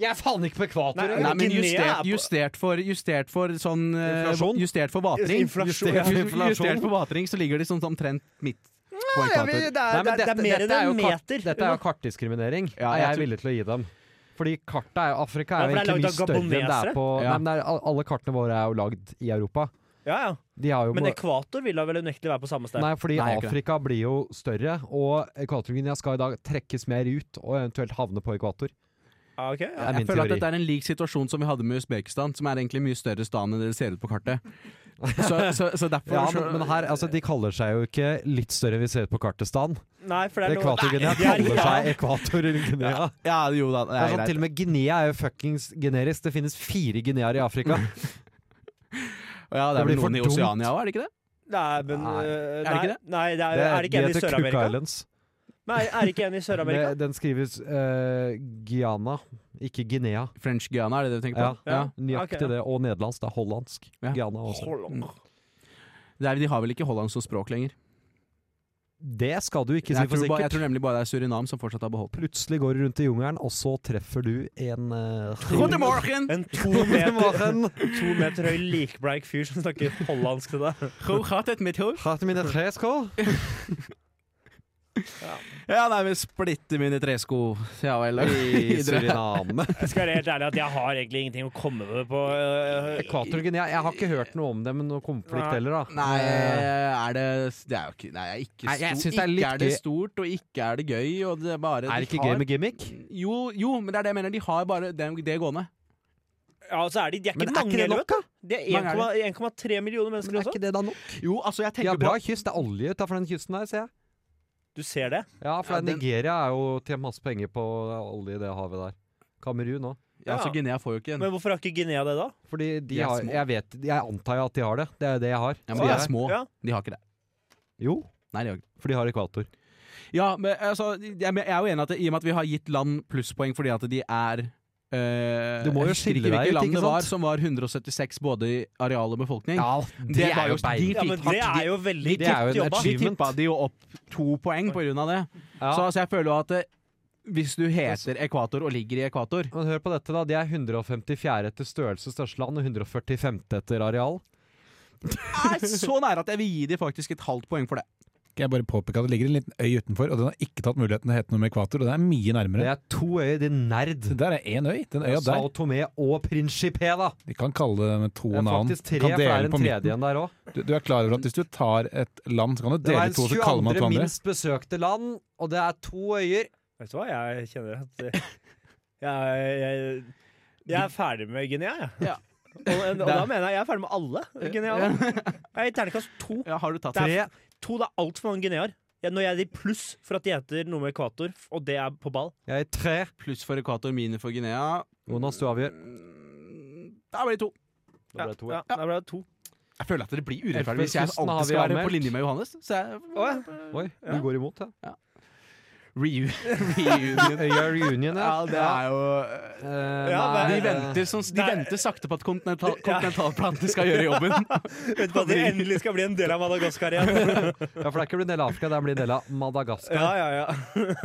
Speaker 7: Jeg er faen ikke på ekvator!
Speaker 6: Nei,
Speaker 7: jeg.
Speaker 5: Nei, men
Speaker 6: Guinea er
Speaker 5: justert, justert,
Speaker 6: på-
Speaker 5: for, justert for sånn eh,
Speaker 7: Inflasjon?
Speaker 5: Justert for vatring.
Speaker 6: Inflasjon,
Speaker 5: justert,
Speaker 6: ja.
Speaker 5: justert for vatring, så ligger de sånn omtrent midt på
Speaker 6: Nei, jeg vil-
Speaker 5: ekvator.
Speaker 6: det, er,
Speaker 7: Nei, men
Speaker 6: det, er- det er mer enn
Speaker 7: dette
Speaker 6: en
Speaker 7: jo kart-
Speaker 6: meter.
Speaker 7: Dette er jo kartdiskriminering.
Speaker 5: Ja, jeg
Speaker 7: jeg er
Speaker 5: tror-
Speaker 7: villig til å gi dem. Fordi kartet er jo Afrika er
Speaker 6: Ja, for det er
Speaker 7: jo egentlig
Speaker 6: laget
Speaker 7: mye
Speaker 6: av
Speaker 7: større enn det er
Speaker 6: gabonesere.
Speaker 7: på
Speaker 5: Ja.
Speaker 7: Nei, men det er, al- Alle kartene våre er jo lagd i Europa.
Speaker 6: Ja, ja.
Speaker 7: De har jo
Speaker 6: Men ekvator vil da vel unektelig være på samme sted?
Speaker 7: Nei, fordi
Speaker 5: Nei, jeg er ikke
Speaker 7: Afrika blir jo større, og Ekvatorguinea skal i dag trekkes mer ut og eventuelt havne på ekvator.
Speaker 6: Ah, ok, ja.
Speaker 7: er
Speaker 5: Jeg
Speaker 7: min
Speaker 5: føler at
Speaker 7: teori.
Speaker 5: dette er en lik situasjon som vi hadde med Usbekistan, som er egentlig mye større stan enn det ser ut på kartet.
Speaker 7: [laughs]
Speaker 5: Så, så, så derfor
Speaker 7: Ja, men, men her, altså, De kaller seg jo ikke litt større enn vi ser ut på kartet, Stan.
Speaker 6: Nei, for det er noe
Speaker 7: Ekvatorguinea
Speaker 6: Nei, det er-
Speaker 7: kaller seg Ekvatorguinea.
Speaker 5: Ja, jo da, det
Speaker 7: Det
Speaker 5: er
Speaker 7: er sånn,
Speaker 5: greit.
Speaker 7: til og med Guinea er jo fuckings generisk. Det finnes fire Guineaer i Afrika.
Speaker 6: Mm.
Speaker 5: Ja, det er
Speaker 7: det
Speaker 5: vel
Speaker 7: blir for
Speaker 5: noen i
Speaker 7: dumt.
Speaker 5: Oseania òg, er det ikke det?
Speaker 6: Nei, men
Speaker 7: Nei.
Speaker 6: øh,
Speaker 5: Er det
Speaker 6: nei,
Speaker 5: ikke det?
Speaker 6: Nei, det er, er det ikke en i
Speaker 7: heter Cook
Speaker 6: Sør-Amerika?
Speaker 7: Islands.
Speaker 6: Nei, er det ikke en i Sør-Amerika?
Speaker 7: [laughs] Det, den skrives eh, Guyana, ikke Guinea.
Speaker 5: French Guiana, er det det du tenker
Speaker 7: Ja,
Speaker 5: på? Ja.
Speaker 7: Nøyaktig
Speaker 6: Ok, ja.
Speaker 7: det. Og nederlandsk. Det er hollandsk.
Speaker 5: Ja.
Speaker 7: Guyana også.
Speaker 6: Holland.
Speaker 5: Det er, de har vel ikke hollandsk som språk lenger.
Speaker 7: Det skal du ikke si
Speaker 5: Jeg
Speaker 7: for
Speaker 5: tror, bare, jeg
Speaker 7: sikkert.
Speaker 5: tror nemlig bare det er Surinam som fortsatt har beholdt
Speaker 7: Plutselig går du rundt i jungelen, og så treffer du en
Speaker 6: [laughs]
Speaker 7: eh,
Speaker 5: God morgen!
Speaker 6: En to meter,
Speaker 7: morgen!
Speaker 6: to meter høy likbleik fyr som snakker hollandsk til deg.
Speaker 5: Hoe gaat het met jou?
Speaker 7: Hatt mine tresko.
Speaker 5: Ja, nei, vi splitter mine tresko. Ja
Speaker 7: [laughs]
Speaker 5: vel.
Speaker 7: I
Speaker 5: videre.
Speaker 7: Suriname.
Speaker 6: Jeg skal være helt ærlig at jeg har egentlig ingenting å komme med på øh,
Speaker 7: Ekvator-Guinea. Jeg har ikke hørt noe om det med noe konflikt
Speaker 6: Nei.
Speaker 7: heller, da. Eh,
Speaker 5: Nei, er det Det er jo ikke Nei, jeg er ikke
Speaker 7: Nei, jeg
Speaker 5: stor-
Speaker 7: synes det er litt
Speaker 5: ikke er det
Speaker 7: gøy.
Speaker 5: stort, og ikke er det gøy, og det er bare
Speaker 7: Er det
Speaker 5: de
Speaker 7: ikke
Speaker 5: har-
Speaker 7: gøy med gimmick?
Speaker 5: jo, jo, men det er det jeg mener. De har bare det, det gående.
Speaker 6: Ja, og så er de, de er ikke
Speaker 7: Men er
Speaker 6: mange,
Speaker 7: ikke det
Speaker 6: heller,
Speaker 7: nok,
Speaker 6: vet du. De
Speaker 5: Mange er
Speaker 6: er 1,3 millioner mennesker
Speaker 7: Men er
Speaker 6: også.
Speaker 7: ikke det da nok?
Speaker 5: Jo, altså, jeg
Speaker 7: De
Speaker 5: tenker
Speaker 7: har bra
Speaker 5: på
Speaker 7: kyst. Det er olje utafor den kysten der, ser jeg.
Speaker 6: Du ser det?
Speaker 7: Ja, for
Speaker 5: Ja, den-
Speaker 7: Nigeria er jo tjent masse penger på olje i det havet der. Kamerun òg.
Speaker 5: ja, altså, Guinea får jo ikke en
Speaker 6: Men hvorfor har ikke Guinea det, da?
Speaker 7: Fordi de
Speaker 5: De er
Speaker 7: har
Speaker 5: små.
Speaker 7: Jeg vet Jeg antar jo at de har det. Det er jo det jeg har.
Speaker 5: ja, men De
Speaker 7: Så
Speaker 5: er
Speaker 7: jeg-
Speaker 5: små.
Speaker 6: Ja.
Speaker 5: De har ikke det.
Speaker 7: Jo,
Speaker 5: Nei, de har ikke det.
Speaker 7: for de har ekvator.
Speaker 5: Ja, men altså, jeg, men jeg er jo enig i at i og med at vi har gitt land plusspoeng fordi at de er eh,
Speaker 7: Du må jo
Speaker 5: jeg husker
Speaker 7: skille deg
Speaker 5: hvilket
Speaker 7: ut,
Speaker 5: land
Speaker 7: ikke
Speaker 5: det var,
Speaker 7: sant?
Speaker 5: som var 176 både i areal og befolkning.
Speaker 7: det,
Speaker 5: Det var jo
Speaker 7: bein.
Speaker 5: de-
Speaker 6: Ja, men
Speaker 5: Fikk
Speaker 6: det
Speaker 5: hardt-
Speaker 6: er jo veldig
Speaker 7: Det er jo
Speaker 6: tøft
Speaker 7: en
Speaker 6: jobba.
Speaker 5: Vi
Speaker 7: achievement.
Speaker 5: tippa de jo opp to poeng på grunn av det.
Speaker 7: Ja.
Speaker 5: Så altså, jeg føler jo at eh, hvis du heter ekvator og ligger i ekvator
Speaker 7: Men hør på dette, da. De er 154 etter størrelse største land og 145 etter areal.
Speaker 5: er [laughs] så nære at jeg vil gi de faktisk et halvt poeng for det.
Speaker 8: Kan jeg bare påpeke at det ligger en liten øy utenfor, og den har ikke tatt muligheten til å hete noe med ekvator, og det er mye
Speaker 7: Det
Speaker 8: nærmere.
Speaker 7: er to øyer, din nerd.
Speaker 8: Det der er én øy. Den øya der.
Speaker 7: Sao Tomé og Principe, da.
Speaker 8: De kan kalle det med to
Speaker 7: Det er
Speaker 8: navn.
Speaker 7: faktisk tre,
Speaker 8: Kan
Speaker 7: for det
Speaker 8: dele
Speaker 7: er en
Speaker 8: på midten.
Speaker 7: tredje en der òg.
Speaker 8: Du, du er klar over at hvis du tar et land, så kan du
Speaker 7: Det
Speaker 8: dele
Speaker 7: er
Speaker 8: i to, så kaller man
Speaker 7: verdens 22.
Speaker 8: to andre.
Speaker 7: minst besøkte land, og det er to øyer.
Speaker 6: Vet du hva, jeg kjenner at eh, jeg, jeg, jeg er ferdig med Guinea, jeg.
Speaker 5: Ja.
Speaker 6: Og, og da mener jeg jeg er ferdig med alle Guineaer. Jeg gir terningkast to.
Speaker 5: Ja, har du tatt
Speaker 6: Det
Speaker 5: tre?
Speaker 6: er, to det er altfor mange Guineaer. Jeg- Når jeg gir pluss for at de heter noe med ekvator, og det er på ball
Speaker 7: Jeg er tre.
Speaker 5: Pluss for ekvator, minus for Guinea. Mm,
Speaker 7: Jonas, du avgjør.
Speaker 5: Da blir det to.
Speaker 7: Da ble det to.
Speaker 6: Ja, da ble det to.
Speaker 5: Jeg føler at det blir urettferdig hvis jeg
Speaker 7: Elfenbenskysten har
Speaker 5: alltid
Speaker 7: vi
Speaker 5: skal være
Speaker 7: anmeldt.
Speaker 5: på linje med Johannes. Så jeg
Speaker 7: Oi, du går imot, ja.
Speaker 5: Reu- [laughs] Reunion.
Speaker 7: Øya Reunion, ja.
Speaker 5: Ja, det er jo eh,
Speaker 7: Eh,
Speaker 6: Ja,
Speaker 7: nei,
Speaker 5: De
Speaker 7: eh,
Speaker 5: venter, sånn- de
Speaker 6: Nei.
Speaker 5: venter sakte på at kontinental, kontinentalplanten skal gjøre jobben.
Speaker 6: Vet du hva, Dere endelig skal bli en del av Madagaskar igjen.
Speaker 7: Ja, for det er ikke å bli en del av Afrika, det er å bli en del av
Speaker 6: [laughs]
Speaker 7: Madagaskar.
Speaker 6: Ja, ja, ja.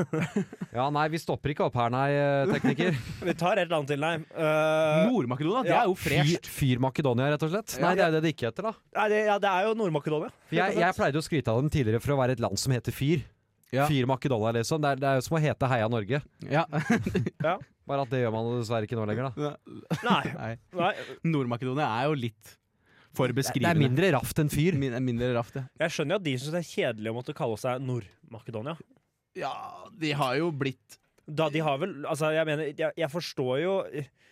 Speaker 7: Ja, nei, vi stopper ikke opp her, nei, eh, tekniker.
Speaker 6: Vi tar et land til, nei. Eh,
Speaker 5: [laughs] Nord-Makedonia, det
Speaker 6: Ja,
Speaker 5: er jo
Speaker 7: Fyr,
Speaker 5: fresht.
Speaker 7: fyr Makedonia, rett og slett. Nei, det er jo det det ikke heter, da.
Speaker 6: nei, det, ja, det er jo Nord-Makedonia.
Speaker 7: For jeg, jeg pleide å skryte av dem tidligere for å være et land som heter Fyr.
Speaker 5: Ja.
Speaker 7: Fyr Makedonia, liksom. Det er, det er jo som å hete Heia Norge.
Speaker 5: [laughs] Ja.
Speaker 7: Bare at det gjør man dessverre ikke nå lenger, da.
Speaker 6: Nei.
Speaker 5: Nei.
Speaker 6: nei.
Speaker 5: Nord-Makedonia er jo litt for
Speaker 7: Det er
Speaker 5: beskrivende.
Speaker 7: mindre raft enn fyr.
Speaker 5: [laughs] Min- mindre raft, ja.
Speaker 6: Jeg skjønner jo at de syns det er kjedelig å måtte kalle seg Nord-Makedonia.
Speaker 5: Ja, de har jo blitt
Speaker 6: Da de har vel Altså, jeg mener, jeg, jeg forstår jo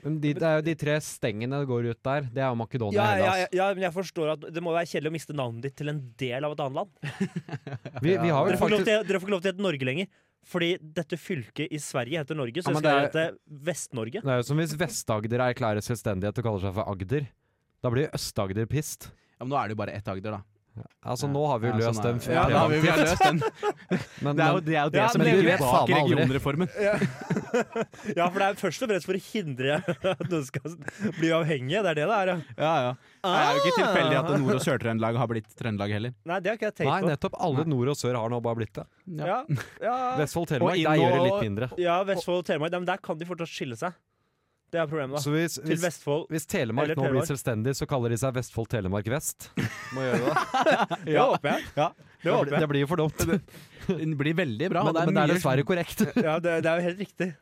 Speaker 7: Men de, det er jo de tre stengene det går ut der. Det er jo Makedonia
Speaker 6: ja,
Speaker 7: og
Speaker 6: ja,
Speaker 7: Hellas.
Speaker 6: ja, ja, men jeg forstår at det må være kjedelig å miste navnet ditt til en del av et annet land.
Speaker 7: Vi, vi har
Speaker 6: Dere
Speaker 7: jo
Speaker 6: får ikke lov
Speaker 7: faktisk
Speaker 6: til, dere får ikke lov til å hete Norge lenger. Fordi dette fylket i Sverige heter Norge, så
Speaker 7: Ja,
Speaker 6: det
Speaker 7: men
Speaker 6: skal
Speaker 7: det
Speaker 6: hete Vest-Norge.
Speaker 7: Det er jo som hvis Vest-Agder erklærer selvstendighet og kaller seg for Agder. Da blir Øst-Agder pissed.
Speaker 5: ja, men Nå er det jo bare ett Agder, da.
Speaker 7: Altså, nå har vi jo
Speaker 5: Ja,
Speaker 7: løst
Speaker 5: sånn er
Speaker 7: den
Speaker 5: det. ja, da har vi, vi har løst den.
Speaker 7: Men,
Speaker 5: Det er jo
Speaker 7: men
Speaker 5: det, er jo det
Speaker 6: Ja,
Speaker 5: som
Speaker 6: men du
Speaker 5: ligger
Speaker 6: vet
Speaker 5: bak
Speaker 7: faen meg aldri.
Speaker 5: regionreformen.
Speaker 6: Ja, for det er først og fremst for å hindre at noen skal bli avhengige. Det er det det er, ja.
Speaker 5: Ja, ja. Det er jo ikke tilfeldig at Nord- og Sør-Trøndelag har blitt Trøndelag heller.
Speaker 6: Nei, det har ikke jeg
Speaker 7: Nei,
Speaker 6: tenkt på.
Speaker 7: nettopp. Alle nord og sør har nå bare blitt det.
Speaker 6: Ja, ja,
Speaker 7: [laughs] Vestfold Telemark,
Speaker 5: inn
Speaker 7: der gjør det
Speaker 5: og-
Speaker 7: litt mindre.
Speaker 6: ja Vestfold og Telemark. Nei, men der kan de fortsatt skille seg. Det er problemet, da.
Speaker 7: Så hvis,
Speaker 6: Til
Speaker 7: hvis,
Speaker 6: Vestfold
Speaker 7: hvis Telemark
Speaker 6: Eller
Speaker 7: nå blir
Speaker 6: Telemark.
Speaker 7: selvstendig, så kaller de seg Vestfold Telemark Vest.
Speaker 5: [laughs]
Speaker 6: Det håper jeg. Det
Speaker 7: Det
Speaker 6: håper
Speaker 7: blir,
Speaker 6: jeg.
Speaker 7: det blir jo for dumt. Men,
Speaker 5: Det blir veldig bra. og
Speaker 7: men det er
Speaker 5: mye-
Speaker 7: dessverre korrekt.
Speaker 6: [laughs] Ja, det, det er jo helt riktig.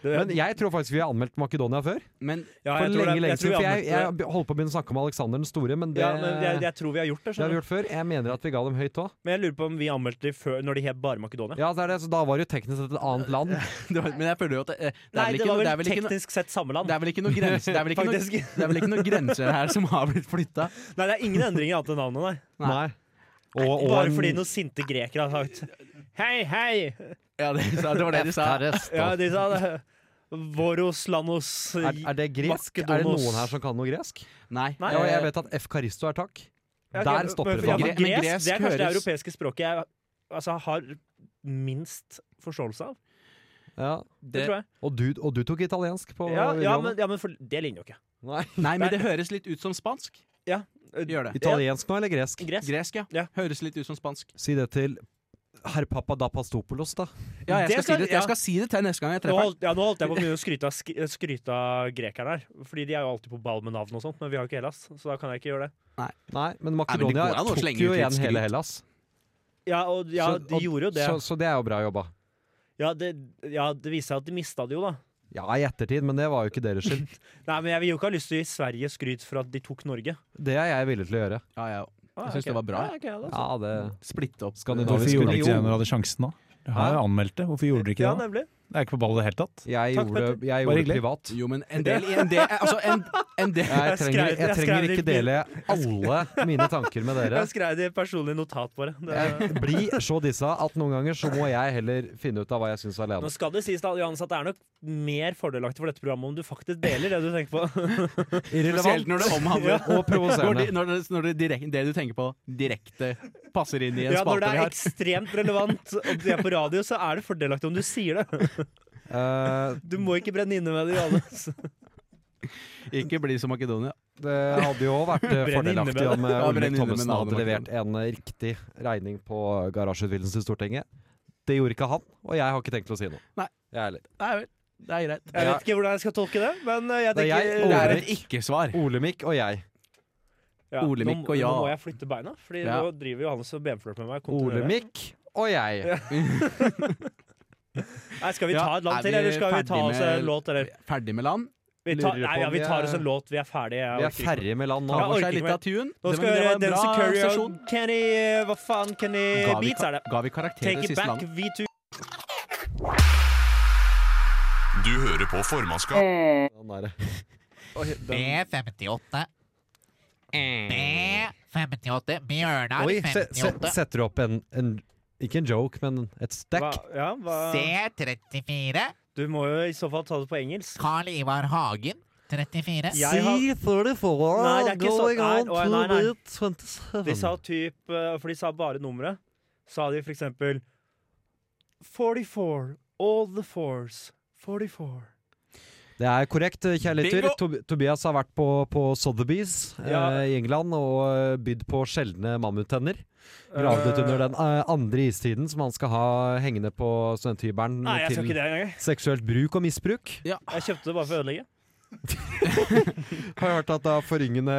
Speaker 6: Det,
Speaker 7: Men jeg tror faktisk vi har anmeldt Makedonia før.
Speaker 5: Men [laughs]
Speaker 6: ja,
Speaker 7: For
Speaker 6: jeg tror det-
Speaker 7: lenge, lenge
Speaker 6: jeg tror
Speaker 7: siden.
Speaker 6: vi
Speaker 7: For jeg,
Speaker 6: anmeldte det.
Speaker 7: jeg holdt på å begynne å snakke om Aleksander den store, men det,
Speaker 6: Ja, men jeg, jeg tror vi har gjort det.
Speaker 7: det har
Speaker 6: skjønner
Speaker 7: vi
Speaker 6: du.
Speaker 7: gjort før. Jeg mener at vi ga dem høyt òg.
Speaker 6: Men jeg lurer på om vi anmeldte de før, når de het bare Makedonia.
Speaker 7: Ja, det er det, så da var det jo teknisk sett et annet land.
Speaker 5: det var- men jeg føler jo at det, eh, det, er, vel
Speaker 6: Nei, det
Speaker 5: ikke,
Speaker 6: var
Speaker 5: noe-
Speaker 6: vel
Speaker 5: det, er, vel ikke noe,
Speaker 6: teknisk sett samme land.
Speaker 5: det er vel ikke noen grenser Det er vel ikke, noe,
Speaker 6: Faktisk.
Speaker 5: det er vel ikke noen grenser her som har blitt flytta.
Speaker 6: Nei, det er ingen endringer annet enn navnet, nei.
Speaker 7: Nei. Og, og
Speaker 6: Bare
Speaker 7: en-
Speaker 6: fordi noen sinte grekere har sagt Hei, hei!
Speaker 5: Ja, det, sa- det var det de sa.
Speaker 7: Terrest,
Speaker 6: Ja,
Speaker 7: da.
Speaker 6: de sa det. Voroslanos
Speaker 7: Er, er det gresk? Er det
Speaker 6: Makedonos.
Speaker 7: noen her som kan noe gresk?
Speaker 5: Nei.
Speaker 6: Nei,
Speaker 7: Ja,
Speaker 5: eh,
Speaker 7: jeg vet at F. Karisto er takk.
Speaker 6: Ja, ok,
Speaker 7: Der
Speaker 6: men-
Speaker 7: stopper det
Speaker 6: men- ja,
Speaker 5: for
Speaker 6: men
Speaker 5: meg. Men
Speaker 6: Gresk det er
Speaker 5: gresk
Speaker 6: kanskje det
Speaker 5: høres-
Speaker 6: europeiske språket jeg altså, har minst forståelse av.
Speaker 7: Ja.
Speaker 6: Det, tror jeg.
Speaker 7: Og, du, og du tok italiensk på
Speaker 6: Ja, ja, men,
Speaker 7: videregående?
Speaker 6: ja, men for, det ligner jo ikke.
Speaker 7: Nei.
Speaker 5: Nei, men det høres litt ut som spansk.
Speaker 6: Ja.
Speaker 5: Gjør det.
Speaker 7: Italiensk nå, eller gresk?
Speaker 6: Gresk.
Speaker 5: Gresk, ja.
Speaker 6: Ja.
Speaker 5: Høres litt ut som spansk.
Speaker 7: Si det til herr Papa da Pastopoulos, da.
Speaker 5: Ja, jeg skal,
Speaker 6: Det skal-
Speaker 5: si det,
Speaker 6: ja.
Speaker 5: jeg skal si det til neste gang jeg
Speaker 6: Nå
Speaker 5: treffer den.
Speaker 6: holdt, ja, nå holdt jeg på å begynne å skryte av, sk- skryte av grekerne her. Fordi de er jo alltid på ball med navn og sånt, men vi har jo ikke Hellas. Så da kan jeg ikke gjøre det.
Speaker 7: Nei, men
Speaker 5: Nei, men det
Speaker 7: Makedonia
Speaker 5: går an å slenge
Speaker 7: tok jo
Speaker 5: ut litt
Speaker 7: igjen hele
Speaker 5: skryt.
Speaker 7: Hellas.
Speaker 6: Ja, og, ja
Speaker 7: Så-
Speaker 6: de
Speaker 7: og-
Speaker 6: gjorde jo det.
Speaker 7: Så, så det er jo bra jobba.
Speaker 6: Ja, det, ja, det viser seg at de mista det jo, da.
Speaker 7: Ja, i ettertid, men det var jo ikke deres
Speaker 6: [laughs]
Speaker 7: skyld.
Speaker 6: Nei, men jeg vil jo ikke ha lyst til å gi Sverige skryt for at de tok Norge.
Speaker 7: Det er jeg villig til å gjøre.
Speaker 5: Ja, ja.
Speaker 6: Ah,
Speaker 5: Jeg syns det var bra.
Speaker 6: Ja, ok, ja, da.
Speaker 7: Ja, det
Speaker 5: Splitte opp.
Speaker 7: Skandinavisk
Speaker 8: Hvorfor gjorde dere ikke det
Speaker 7: union.
Speaker 8: når dere hadde sjansen da? Du har jo anmeldt det. Hvorfor gjorde dere ikke
Speaker 6: ja,
Speaker 8: det? da?
Speaker 6: nemlig.
Speaker 8: Det er ikke på ballet i det hele tatt.
Speaker 7: Jeg
Speaker 6: Takk,
Speaker 7: gjorde,
Speaker 6: Petter.
Speaker 7: jeg
Speaker 8: Bare
Speaker 7: gjorde
Speaker 8: hyggelig.
Speaker 7: privat.
Speaker 5: Jo, men en del, en del Altså, en, en del
Speaker 7: Jeg
Speaker 6: Jeg
Speaker 7: trenger,
Speaker 6: skrev-
Speaker 7: jeg
Speaker 6: jeg
Speaker 7: trenger
Speaker 6: skrev
Speaker 7: ikke
Speaker 6: litt-
Speaker 7: dele alle mine tanker med dere.
Speaker 6: Jeg skrev det i personlig notat, bare. Det,
Speaker 7: Jeg blir så dissa at noen ganger så må jeg heller finne ut av hva jeg syns
Speaker 6: nå
Speaker 7: alene.
Speaker 6: skal det sies, da, Johannes, at det er nok mer fordelaktig for dette programmet om du faktisk deler det du tenker
Speaker 5: [laughs]
Speaker 6: på.
Speaker 5: Spesielt
Speaker 7: Irrelevant
Speaker 5: når det
Speaker 6: [laughs]
Speaker 5: omhandler
Speaker 7: og
Speaker 5: Når, de,
Speaker 7: provoserende.
Speaker 5: når, det, når det, direk, det du tenker på, direkte passer inn i en
Speaker 6: Ja, når
Speaker 5: spalte
Speaker 6: det
Speaker 5: vi
Speaker 6: er
Speaker 5: har.
Speaker 6: ekstremt relevant, og det er på radio, så er det fordelaktig om du sier det.
Speaker 7: Eh,
Speaker 6: Du må ikke brenne inne med det, Johannes.
Speaker 5: Ikke bli som Makedonia.
Speaker 7: Det hadde jo vært eh,
Speaker 6: Brenn inne med
Speaker 7: fordelaktig
Speaker 6: det.
Speaker 7: om eh,
Speaker 5: Ja, brenn
Speaker 7: Olemic
Speaker 5: inne med
Speaker 7: Thommessen
Speaker 5: navnet,
Speaker 7: hadde levert en eh, riktig regning på garasjeutvidelsen til Stortinget. Det gjorde ikke han, og jeg har ikke tenkt å si noe.
Speaker 5: Nei.
Speaker 7: Jeg er ærlig.
Speaker 5: Nei vel, det er greit.
Speaker 6: Jeg vet ikke hvordan jeg skal tolke det, men eh, jeg
Speaker 7: Det er
Speaker 6: tenker
Speaker 7: jeg,
Speaker 5: Det
Speaker 7: Ole
Speaker 5: er
Speaker 7: Olemic.
Speaker 5: et ikke-svar.
Speaker 7: Olemic og jeg.
Speaker 6: Ja.
Speaker 5: Olemikk
Speaker 6: nå,
Speaker 5: og ja.
Speaker 6: Nå må jeg flytte beina, Fordi
Speaker 5: Ja.
Speaker 6: nå driver Johannes og benflørt med meg. kontinuerlig.
Speaker 7: Olemikk og jeg.
Speaker 6: Nei, skal vi
Speaker 5: Ja,
Speaker 6: ta et land
Speaker 5: er
Speaker 6: til,
Speaker 5: vi
Speaker 6: eller skal vi
Speaker 5: ferdig
Speaker 6: ta oss
Speaker 5: med-
Speaker 6: en låt? Eller?
Speaker 5: Ferdig med land.
Speaker 6: Vi tar,
Speaker 7: lurer
Speaker 6: nei,
Speaker 7: på
Speaker 6: ja,
Speaker 7: om
Speaker 6: vi
Speaker 7: vi
Speaker 6: tar
Speaker 7: er-
Speaker 6: oss en låt. Vi er ferdige. jeg
Speaker 7: Vi er
Speaker 6: orker ikke.
Speaker 7: ferdige med land nå.
Speaker 5: Ta for
Speaker 6: orker
Speaker 5: seg
Speaker 6: ikke
Speaker 5: litt av tune.
Speaker 6: Nå skal vi
Speaker 5: det
Speaker 6: høre
Speaker 5: var en
Speaker 6: Denzel
Speaker 5: bra
Speaker 6: Curry og
Speaker 5: sesjon.
Speaker 6: Kenny Hva faen? Kenny
Speaker 5: Ga vi,
Speaker 6: Beats er det.
Speaker 5: ka- ga vi karakterer
Speaker 6: Take it
Speaker 5: siste
Speaker 6: back,
Speaker 5: land?
Speaker 6: V2.
Speaker 1: Du hører på formannskap.
Speaker 7: Den der.
Speaker 9: B58. B58. Bjørnar
Speaker 7: Oi, se, se,
Speaker 9: 58.
Speaker 7: setter du opp en, en Ikke en joke, men et
Speaker 6: Hva,
Speaker 7: stack?
Speaker 6: ja, hva?
Speaker 9: C34.
Speaker 6: Du må jo i så fall ta det på engelsk.
Speaker 9: Carl Ivar Hagen 34.
Speaker 6: Ja. Jeg har-
Speaker 4: C34
Speaker 6: Nei, det er ikke så-
Speaker 4: going
Speaker 6: nei,
Speaker 4: on
Speaker 6: oi,
Speaker 4: to
Speaker 6: nei, nei.
Speaker 4: be
Speaker 6: De sa
Speaker 4: 27.
Speaker 6: typ eh, For de sa bare nummeret. Sa de for eksempel 44. All the fours. 44.
Speaker 7: Det er korrekt, eh, kjære lytter.
Speaker 5: Bingo!
Speaker 7: Tob Tobias har vært på, på Sotheby's
Speaker 6: Ja.
Speaker 7: eh, i England og eh, bydd på sjeldne mammuttenner. Gravd ut
Speaker 6: Eh,
Speaker 7: under den eh, andre istiden som han skal ha hengende på studenthybelen
Speaker 6: Nei, jeg skal ikke
Speaker 7: til
Speaker 6: det engang.
Speaker 7: seksuelt bruk og misbruk.
Speaker 6: Jeg kjøpte det bare for å ødelegge.
Speaker 7: Har hørt at det har forringende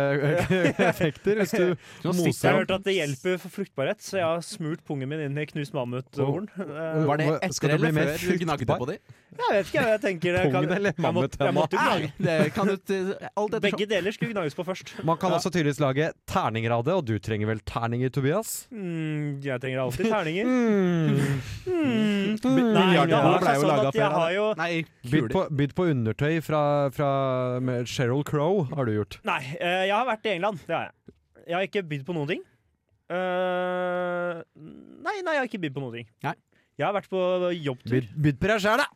Speaker 7: [laughs] effekter hvis du
Speaker 5: Nå
Speaker 7: Moser
Speaker 6: Jeg
Speaker 5: sitter
Speaker 6: har
Speaker 5: han-
Speaker 6: hørt at det hjelper for fruktbarhet, så jeg har smurt pungen min inn i knust mammuthorn. Eh,
Speaker 5: Var det
Speaker 7: Hva- skal
Speaker 5: etter
Speaker 7: det bli
Speaker 5: eller
Speaker 7: mer
Speaker 5: før du gnagde
Speaker 7: fruktbar?
Speaker 5: på de?
Speaker 6: Jeg vet ikke, jeg tenker det
Speaker 7: Pungen eller
Speaker 6: jeg måtte, jeg
Speaker 7: mammutenna?
Speaker 6: måtte jo gnage.
Speaker 5: Det kan du t- Alt etter
Speaker 6: Begge deler skulle gnages på først.
Speaker 7: Man kan også tydeligvis lage terninger av det, og du trenger vel terninger, Tobias?
Speaker 6: Mm, jeg trenger alltid terninger.
Speaker 7: [laughs]
Speaker 6: Mm. Nei,
Speaker 7: Milliarder
Speaker 6: det
Speaker 7: av
Speaker 6: har
Speaker 7: det
Speaker 6: seg
Speaker 7: ble jo
Speaker 6: sånn
Speaker 7: laget
Speaker 6: at
Speaker 7: før,
Speaker 6: jeg har jo
Speaker 5: Nei,
Speaker 7: Bydd
Speaker 5: kule.
Speaker 7: på, bydd på undertøy fra, fra med Sheryl Crow har du gjort.
Speaker 6: Nei, eh, jeg har vært i England. Det har jeg. Jeg har ikke bydd på noen ting. Eh, nei, nei, jeg har ikke bydd på noen ting.
Speaker 5: Nei.
Speaker 6: Jeg har vært på jobbtur. [laughs]
Speaker 7: Bydd, bydd på deg sjæl, da!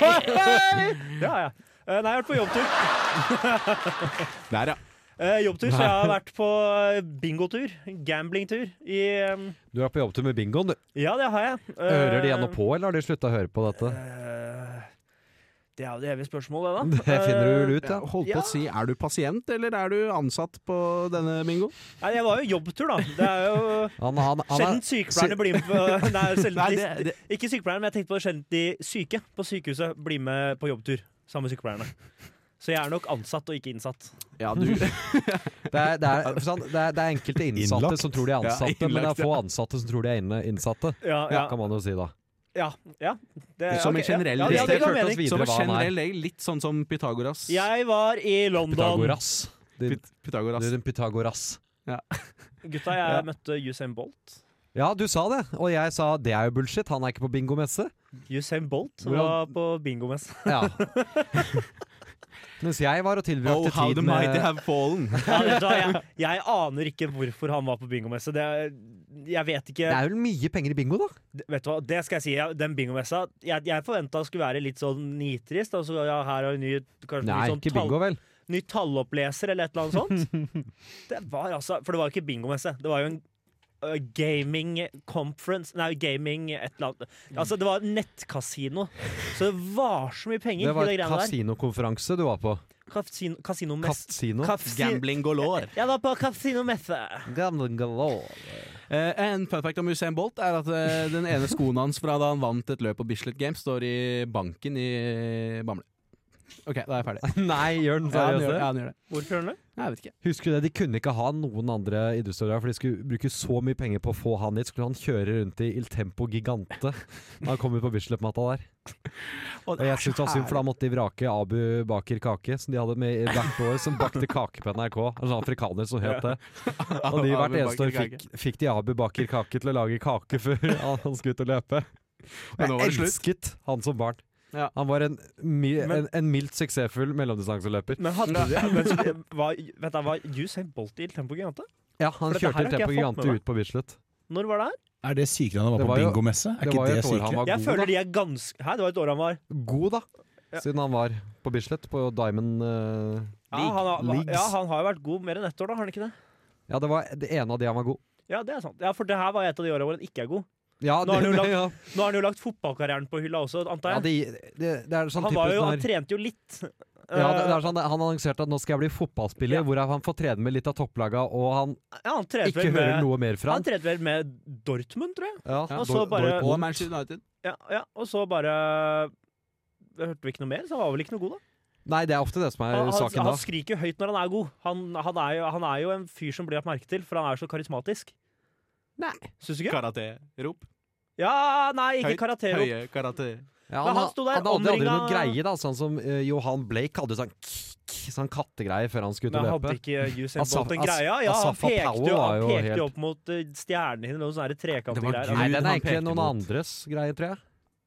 Speaker 6: Det har jeg. Eh, nei, jeg har vært på jobbtur.
Speaker 5: Der, ja.
Speaker 6: Eh, jobbtur, så jeg har vært på eh, bingotur. Gamblingtur i eh,
Speaker 7: Du er på jobbtur med bingoen, du.
Speaker 6: Ja, det har jeg. Eh,
Speaker 7: Hører de ennå på, eller har de slutta å høre på dette?
Speaker 6: Eh, det er jo det evige spørsmålet, da. Eh,
Speaker 7: Det finner du vel ut,
Speaker 5: Ja,
Speaker 7: ja.
Speaker 5: Holdt
Speaker 6: Ja.
Speaker 5: på å si, er du pasient, eller er du ansatt på denne bingo?
Speaker 6: Nei, jeg var jo jobbtur, da. Det er jo
Speaker 7: Han, han, han
Speaker 6: sjelden
Speaker 7: er,
Speaker 6: sykepleierne blir med på
Speaker 7: [laughs]
Speaker 6: Nei, sjelden
Speaker 5: Nei,
Speaker 6: de,
Speaker 5: det- det-
Speaker 6: Ikke sykepleierne, men jeg tenkte på sjelden de syke på sykehuset blir med på jobbtur sammen med sykepleierne. Så jeg er nok ansatt og ikke innsatt.
Speaker 5: Ja, [laughs] du
Speaker 7: det, er, det, er, for sant, det, er, det er
Speaker 5: [laughs]
Speaker 7: enkelte innsatte
Speaker 8: Innlagt.
Speaker 7: som tror de er
Speaker 5: Ja,
Speaker 7: ansatte, men det
Speaker 5: innlagt,
Speaker 7: er få ansatte som tror de er inne, innsatte.
Speaker 6: Ja, ja,
Speaker 7: Kan man jo si, da.
Speaker 6: ja, ja det,
Speaker 5: Som en
Speaker 6: ok, ja,
Speaker 5: generell
Speaker 6: ja, ja, det
Speaker 5: regel.
Speaker 6: ga mening.
Speaker 5: Som
Speaker 7: Videre
Speaker 5: en
Speaker 7: hva han er.
Speaker 5: generell regel, litt sånn som Pythagoras.
Speaker 6: Jeg var i London.
Speaker 7: Pythagoras. Din,
Speaker 5: Pyt- Pythagoras.
Speaker 7: din Pythagoras.
Speaker 6: Gutta, jeg møtte Usain Bolt.
Speaker 7: Ja, du sa det, og jeg sa det er jo bullshit, han er ikke på bingomesse.
Speaker 6: Usain Bolt
Speaker 7: Hvordan-
Speaker 6: var på bingomess. [laughs]
Speaker 7: Ja. Mens jeg var
Speaker 5: Oh,
Speaker 7: og tilbrakte
Speaker 5: how
Speaker 7: tid
Speaker 5: the mighty
Speaker 7: med
Speaker 5: have fallen. [laughs]
Speaker 6: Ja, vet du hva, jeg, jeg aner ikke hvorfor han var på bingomesse. Det er- Jeg vet ikke
Speaker 7: Det er vel mye penger i bingo, da?
Speaker 6: Det- Vet du hva, det skal jeg si. Ja, Den bingomessa Jeg, jeg forventa skulle være litt sånn nitrist. Altså, ja, her er en ny, kanskje
Speaker 7: Nei,
Speaker 6: ny, sånn
Speaker 7: ikke
Speaker 6: tall,
Speaker 7: bingo, vel.
Speaker 6: ny talloppleser eller et eller annet sånt.
Speaker 7: [laughs]
Speaker 6: det var altså For det var jo ikke bingomesse. Det var jo en ø, gaming conference Nei, gaming et eller annet. Altså, det var nettkasino. Så det var så mye penger
Speaker 7: Det var
Speaker 6: i det greiene der.
Speaker 7: kasinokonferanse du var på.
Speaker 6: Kasino, kasinomess.
Speaker 7: Kasino.
Speaker 6: Kasi-
Speaker 5: Gambling galore.
Speaker 6: Jeg var på kasinomesse.
Speaker 7: Gambling galore.
Speaker 5: Eh, en fun fact om Usain Bolt er at eh, den ene skoen hans fra da han vant et løp på Bislett Games, står i banken i Bamble. OK, da er jeg ferdig. [laughs]
Speaker 7: Nei, gjør den
Speaker 5: Ja, han gjør det.
Speaker 7: seriøst
Speaker 5: Ja,
Speaker 7: det?
Speaker 5: han gjør det.
Speaker 6: Hvorfor gjør han det?
Speaker 5: Nei, Jeg vet ikke.
Speaker 7: Husker du det, de kunne ikke ha noen andre idrettsutøvere, for de skulle bruke så mye penger på å få han hit. Skulle han kjøre rundt i Il Tempo Gigante da han kom ut på Bislett-matta
Speaker 6: [laughs]
Speaker 7: der. Og jeg synes det var synd, for da måtte de vrake Abu Baker Kake, som de hadde med i Black Boy, som bakte kake på NRK. En sånn afrikaner som het det. Og
Speaker 5: [laughs]
Speaker 7: de hvert
Speaker 5: Abu
Speaker 7: eneste
Speaker 5: Bakr
Speaker 7: år
Speaker 5: Kake.
Speaker 7: fikk, fikk de Abu Baker Kake til å lage kake før [laughs] han skulle ut og løpe.
Speaker 5: Men nå var
Speaker 7: Og
Speaker 5: det
Speaker 7: jeg
Speaker 5: slutt.
Speaker 7: elsket han som barn.
Speaker 5: Ja.
Speaker 7: Han var en, mi,
Speaker 6: Men-
Speaker 7: en, en mildt suksessfull mellomdistanseløper.
Speaker 6: Men hadde de men, så- var, Vet du, var Usain Bolt i Tempo Gigante?
Speaker 7: Ja, han
Speaker 6: For dette her
Speaker 7: kjørte
Speaker 6: har ikke jeg
Speaker 7: Tempo
Speaker 6: fått med
Speaker 7: Gigante
Speaker 6: meg.
Speaker 7: ut på Bislett.
Speaker 6: Når var det her?
Speaker 8: Er det sykere enn han
Speaker 7: Det
Speaker 8: var på
Speaker 7: var jo-
Speaker 8: bingomesse? Er
Speaker 7: Det
Speaker 8: ikke
Speaker 7: var jo
Speaker 8: det
Speaker 7: et år han
Speaker 8: sykere?
Speaker 7: var
Speaker 6: Jeg
Speaker 7: god,
Speaker 6: føler
Speaker 7: da.
Speaker 6: de er ganske Hæ, det var et år han var
Speaker 7: God, da.
Speaker 6: Ja.
Speaker 7: Siden han var på Bislett, på Diamond eh,
Speaker 6: Ja, han, har,
Speaker 7: Leagues.
Speaker 6: ja, han har jo vært god mer enn ett år, da. Har han ikke det?
Speaker 7: Ja, det var det ene av de han var god.
Speaker 6: Ja, det er sant. Ja, For det her var et av de åra hvor han ikke er god.
Speaker 7: Ja,
Speaker 6: Nå har han
Speaker 7: det,
Speaker 6: jo lagt-
Speaker 7: [laughs] ja.
Speaker 6: Nå har han jo lagt fotballkarrieren på hylla også, antar
Speaker 7: ja
Speaker 6: jeg.
Speaker 7: det, det, det er sånn
Speaker 6: han, var
Speaker 7: typisk
Speaker 6: jo,
Speaker 7: den
Speaker 6: han
Speaker 7: her-
Speaker 6: trente jo litt.
Speaker 7: ja, det, det er sånn, Han annonserte at nå skal jeg bli fotballspiller,
Speaker 6: Ja.
Speaker 7: hvorav han får trene med litt av topplaga, og han
Speaker 6: Eh, ja, han trente
Speaker 7: ikke
Speaker 6: vel
Speaker 7: hører
Speaker 6: med
Speaker 7: noe mer fra
Speaker 6: Han
Speaker 7: han.
Speaker 6: trente vel med Dortmund, tror jeg.
Speaker 7: Ja,
Speaker 5: Ja,
Speaker 6: og
Speaker 7: Dor-
Speaker 6: så bare-
Speaker 7: Dortmund.
Speaker 5: Og Manchester United.
Speaker 6: Ja, ja. Og så bare hørte vi ikke noe mer, så han var vel ikke noe god, da.
Speaker 7: Nei, det er ofte det som er
Speaker 6: Han, han,
Speaker 7: saken da.
Speaker 6: han skriker jo høyt når han er god. Han, han, er jo, han er jo en fyr som blir lagt merke til, for han er jo så karismatisk.
Speaker 5: Nei.
Speaker 6: Syns du ikke?
Speaker 5: Karate-rop.
Speaker 6: Ja, nei, ikke
Speaker 5: Høyt-
Speaker 6: karate. jo.
Speaker 5: Høye karate.
Speaker 7: Ja,
Speaker 6: Men
Speaker 7: han,
Speaker 6: han sto der,
Speaker 7: hadde aldri- aldri noe
Speaker 6: omringa-
Speaker 7: greie, da. Sånn som eh, Johan Blake hadde sånn, k- k- sånn kattegreie før han skulle ut
Speaker 6: Men
Speaker 7: og
Speaker 6: hadde
Speaker 7: løpe.
Speaker 6: ikke Usain
Speaker 7: Asaf-
Speaker 6: Bolt den
Speaker 7: As-
Speaker 6: greia? Ja, han
Speaker 7: Asafa Powell
Speaker 6: pekte jo,
Speaker 7: var
Speaker 6: han
Speaker 7: jo
Speaker 6: pekte jo
Speaker 7: helt-
Speaker 6: opp mot eh, stjernene dine, noen sånne
Speaker 5: Det
Speaker 6: trekanter
Speaker 5: var
Speaker 6: greier.
Speaker 5: Gud.
Speaker 7: Nei, den
Speaker 5: han
Speaker 7: er egentlig
Speaker 5: pekte
Speaker 7: noen
Speaker 5: mot.
Speaker 7: andres greie, tror jeg.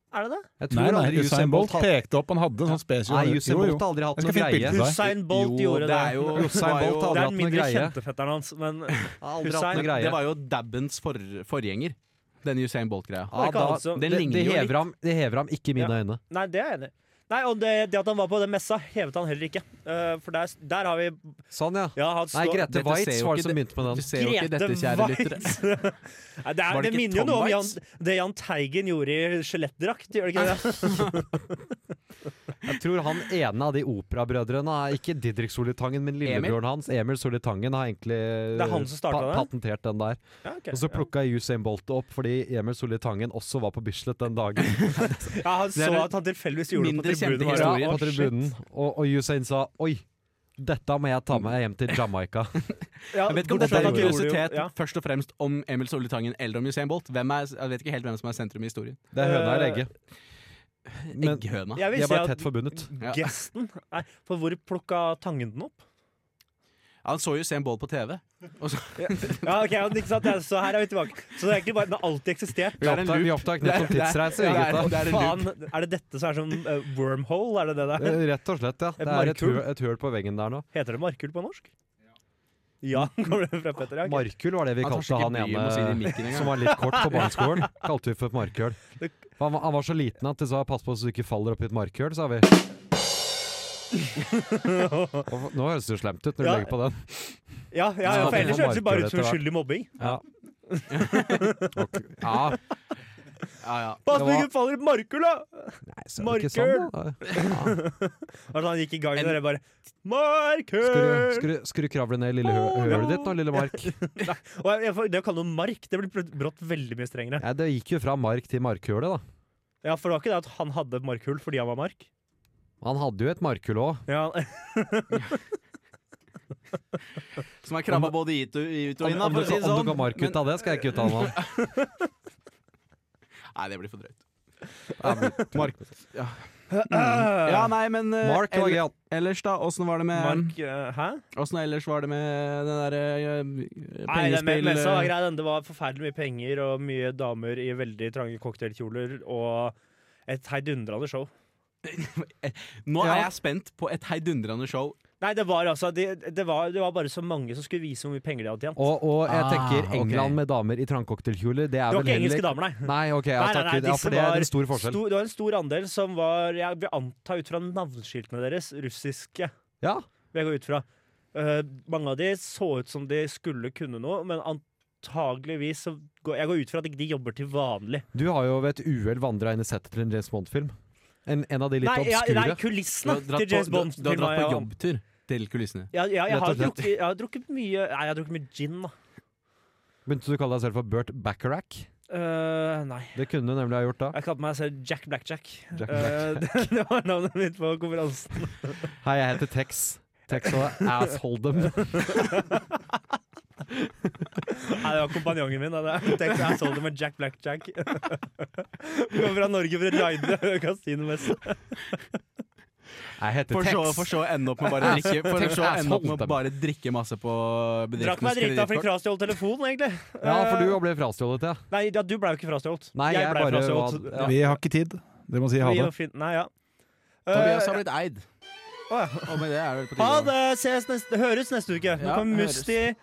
Speaker 6: Er det det?
Speaker 7: jeg tror
Speaker 8: Nei, nei,
Speaker 7: aldri
Speaker 8: Usain Bolt
Speaker 7: hadde-
Speaker 8: pekte opp. Han hadde en sånn spesial
Speaker 7: Nei, Usain Bolt har aldri hatt
Speaker 8: Jeg
Speaker 7: noe
Speaker 8: skal finne
Speaker 7: greie.
Speaker 8: bilder. Nei.
Speaker 6: Usain Bolt
Speaker 5: Jo,
Speaker 6: gjorde
Speaker 5: det
Speaker 6: det.
Speaker 5: er jo
Speaker 7: [laughs] Usain
Speaker 5: var jo-
Speaker 7: Bolt har
Speaker 6: Det er den
Speaker 7: aldri hatt noe
Speaker 6: mindre
Speaker 7: greie.
Speaker 6: kjente fetteren hans, men
Speaker 7: Han har Aldri hatt
Speaker 6: Usain-
Speaker 7: noe greie.
Speaker 5: Det var jo Dabbens for, forgjenger, den Usain Bolt-greia.
Speaker 7: Ja,
Speaker 6: ikke
Speaker 7: da,
Speaker 6: alt som-
Speaker 7: det,
Speaker 5: Det
Speaker 7: det,
Speaker 5: ligner jo litt.
Speaker 7: hever ham, det hever ham ikke i mine
Speaker 6: Ja.
Speaker 7: øyne.
Speaker 6: Nei, det er jeg enig i. Nei, og det, det at han var på den messa, hevet han heller ikke. Eh, for der, der har vi
Speaker 7: Sånn, ja.
Speaker 6: Ja, han
Speaker 7: Nei,
Speaker 6: står
Speaker 7: Grete
Speaker 5: Dette ser
Speaker 7: Waitz
Speaker 5: jo ikke
Speaker 7: var det som begynte
Speaker 5: Du
Speaker 7: med den.
Speaker 5: ser jo ikke dette, kjære
Speaker 6: Grete
Speaker 5: lyttere.
Speaker 6: Waitz. [laughs] Nei, det,
Speaker 5: Var
Speaker 6: er,
Speaker 5: det
Speaker 6: det
Speaker 5: ikke
Speaker 6: minner jo
Speaker 5: Tom
Speaker 6: noe om Jan,
Speaker 5: Waitz?
Speaker 6: det Jahn Teigen gjorde i skjelettdrakt, gjør det
Speaker 5: [laughs]
Speaker 6: ikke det?
Speaker 7: Jeg tror han ene av de operabrødrene, er ikke Didrik Solitangen, men lillebroren hans, Emil Solitangen, har egentlig
Speaker 6: Det er han som startet
Speaker 7: pa-
Speaker 6: det?
Speaker 7: patentert den der.
Speaker 6: Ja, ok.
Speaker 7: Og så plukka Usain Bolt det opp fordi Emil Solitangen også var på Bislett den
Speaker 6: [laughs]
Speaker 7: dagen.
Speaker 6: ja, han
Speaker 5: er
Speaker 6: så
Speaker 5: en
Speaker 6: at han tilfeldigvis gjorde det
Speaker 5: mindre
Speaker 6: på
Speaker 5: kjente
Speaker 6: tribunen. bare.
Speaker 5: historie.
Speaker 7: Ja,
Speaker 6: Å,
Speaker 7: på
Speaker 6: shit.
Speaker 7: tribunen. Og, og Usain sa oi, dette må jeg ta med hjem til Jamaica.
Speaker 6: Ja,
Speaker 5: Jeg vet ikke om dette er en
Speaker 6: bortsett fra at han gjorde jo-
Speaker 5: kuriositet
Speaker 6: ja.
Speaker 5: først og fremst om Emil Solitangen eller om Usain Bolt. Hvem er, jeg vet ikke helt hvem som er sentrum i historien.
Speaker 7: Det er høna eller
Speaker 6: Eh,
Speaker 7: egget. Men de
Speaker 5: Egghøna.
Speaker 6: Jeg vil
Speaker 7: er
Speaker 6: si
Speaker 7: bare
Speaker 6: at
Speaker 7: tett forbundet.
Speaker 5: Ja.
Speaker 6: gesten Nei, for hvor plukka Tangen den opp?
Speaker 5: Han så Usain Bolt på TV. Og så,
Speaker 6: Ja, ok, ja, ikke sant? Ja, Så her er vi tilbake. Så det er egentlig bare den har alltid eksistert.
Speaker 7: Vi
Speaker 5: Det er en
Speaker 7: opptak- vi
Speaker 5: loop.
Speaker 7: opptak nytt om
Speaker 5: Det er-
Speaker 7: tidsreiser,
Speaker 5: det er-
Speaker 7: vi,
Speaker 5: det
Speaker 7: gutta.
Speaker 5: er en loop.
Speaker 6: Faen, er det dette som er som eh, wormhole? Er det det der?
Speaker 7: Eh, Rett og slett, ja. Det er et
Speaker 6: markhull.
Speaker 7: høl, et høl på veggen der nå.
Speaker 6: Heter det markhull på norsk? Ja, kommer det fra Petter. Ja, ok.
Speaker 7: Markhull var det vi
Speaker 5: Han tar
Speaker 7: kalte
Speaker 5: seg ikke
Speaker 7: han
Speaker 5: bryet med å si det i
Speaker 7: ene
Speaker 5: mikken engang.
Speaker 7: som var litt kort
Speaker 5: [laughs]
Speaker 7: på barneskolen. Kalte vi for et markhull. For Han, var- han var så liten at de sa 'pass på så du ikke faller oppi et markhull',
Speaker 5: [laughs]
Speaker 7: sa vi. Og nå høres det jo slemt ut når du
Speaker 6: Ja.
Speaker 7: legger på den.
Speaker 6: Ja, ja, ja,
Speaker 7: Ja,
Speaker 6: for
Speaker 7: det
Speaker 6: ellers
Speaker 7: var
Speaker 6: høres det bare ut som
Speaker 7: markhull etter hvert.
Speaker 6: uskyldig mobbing.
Speaker 7: Ja. Ok. ja.
Speaker 5: ja, ja.
Speaker 6: Pass på
Speaker 7: Det var-
Speaker 6: ikke faller i markhull, da!
Speaker 7: Nei, så er det ikke sånn, da.
Speaker 6: Altså, han gikk i gang
Speaker 5: En-
Speaker 6: og det bare
Speaker 7: Skal du,
Speaker 6: Markhull!
Speaker 7: skal, du, skal du kravle ned i lille hø hølet ditt nå, lille Mark?
Speaker 6: Og jeg- jeg får- Det å kalle noe mark, det blir brått- brått veldig mye strengere.
Speaker 7: Ja, det gikk jo fra mark til markhølet, da.
Speaker 6: Ja, for det var ikke det at han hadde markhull fordi han var mark.
Speaker 7: Han hadde jo et markhull òg.
Speaker 6: Ja,
Speaker 5: Som er krabba både hit og ut og
Speaker 7: Om,
Speaker 5: inn, da,
Speaker 7: om,
Speaker 5: for
Speaker 7: du
Speaker 5: å si
Speaker 7: kan-
Speaker 5: det
Speaker 7: om du
Speaker 5: sånn.
Speaker 7: kan mark ut
Speaker 5: Men-
Speaker 7: av det, skal jeg ikke uttale meg om.
Speaker 5: [laughs] Nei, det blir for drøyt.
Speaker 7: Ja, men-
Speaker 5: Mark. Ja. ja, nei, men eh,
Speaker 7: Mark var
Speaker 5: ell-
Speaker 7: gøy, han.
Speaker 5: Ellers, da? Åssen var det med
Speaker 6: [laughs] mark eh, Hæ?
Speaker 5: Åssen ellers var det med den derre
Speaker 6: Nei, den me-
Speaker 5: pengespill...
Speaker 6: messa var
Speaker 5: eh,
Speaker 6: grei. Den. Det var forferdelig mye penger og mye damer i veldig trange cocktailkjoler og et heidundrende show.
Speaker 5: Nå er
Speaker 6: Ja.
Speaker 5: jeg spent på et heidundrende show.
Speaker 6: Nei, det var altså de- det, var, det var bare så mange som skulle vise hvor mye penger de hadde tjent.
Speaker 7: Og, og jeg
Speaker 5: Ah,
Speaker 7: tenker
Speaker 5: ok.
Speaker 7: England med damer i trangcocktailkjoler, det er
Speaker 6: Det var
Speaker 7: vel
Speaker 6: ikke engelske
Speaker 7: heller
Speaker 6: damer, nei.
Speaker 7: Nei, ok, ja,
Speaker 6: Nei, nei,
Speaker 7: takk
Speaker 6: nei,
Speaker 7: Gud. Ja,
Speaker 6: disse
Speaker 7: for det er
Speaker 6: var
Speaker 7: en stor forskjell.
Speaker 6: Stor, det var en stor andel som var, jeg vil anta ut fra navneskiltene deres, russiske.
Speaker 7: Ja,
Speaker 6: vil jeg gå ut fra. Eh, mange av de så ut som de skulle kunne noe, men antageligvis så går Jeg går ut fra at ikke de jobber til vanlig.
Speaker 7: Du har jo ved et uhell vandra inn i settet til en James Bond-film. En, en av de litt
Speaker 6: Nei, ja, nei,
Speaker 7: obskure.
Speaker 5: Du
Speaker 6: kulissene
Speaker 5: har
Speaker 6: til
Speaker 5: dratt
Speaker 6: James
Speaker 5: på,
Speaker 6: Bond.
Speaker 5: du, du har
Speaker 6: filmer
Speaker 5: dratt på
Speaker 6: jeg-
Speaker 5: jobbtur til kulissene.
Speaker 6: Ja, ja, jeg,
Speaker 7: Rett
Speaker 6: har
Speaker 7: og slett.
Speaker 6: drukket, jeg har drukket mye Nei, jeg har drukket mye gin, da.
Speaker 7: Begynte du å kalle deg selv for Bert Bacharach?
Speaker 6: Eh, nei.
Speaker 7: Det kunne du nemlig ha gjort da.
Speaker 6: Jeg kalte meg selv Jack Blackjack.
Speaker 7: Jack
Speaker 6: Eh, [laughs] det, det var navnet mitt på konferansen.
Speaker 7: Hei, jeg heter Tex.
Speaker 6: [laughs]
Speaker 7: Tex og Ass Holdem.
Speaker 6: Nei, det var kompanjongen min. Da. Det- Tenk, jeg så det med Jack Blackjack. [laughs] Vi kommer fra Norge for å [laughs] raide kasinomesse.
Speaker 7: Jeg heter
Speaker 5: For så,
Speaker 7: Tex.
Speaker 5: for så å ende opp [laughs] med bare å drikke, for
Speaker 7: Tex
Speaker 5: så å
Speaker 7: ass
Speaker 5: ende opp med
Speaker 7: Holden.
Speaker 5: å bare drikke masse på
Speaker 6: Drakk
Speaker 5: bedriftenes
Speaker 6: meg drita fordi
Speaker 5: kredittkort.
Speaker 6: frastjålet telefonen, egentlig.
Speaker 7: Ja, for du ble frastjålet, ja.
Speaker 6: Nei, ja, du ble jo ikke frastjålet.
Speaker 7: Nei, jeg
Speaker 6: ble
Speaker 7: bare
Speaker 6: frastjålet.
Speaker 7: var- ja.
Speaker 8: Vi har ikke tid. Dere må si ha
Speaker 6: Vi
Speaker 8: det.
Speaker 6: og Finn- Nei, ja.
Speaker 5: Tobias har
Speaker 6: Eh,
Speaker 5: blitt eid.
Speaker 6: å ja.
Speaker 5: Og med det er det på
Speaker 6: Ha
Speaker 5: tide.
Speaker 6: det! Ses neste, høres neste uke. Nå
Speaker 5: Ja,
Speaker 6: kommer
Speaker 5: høres.
Speaker 6: Musti.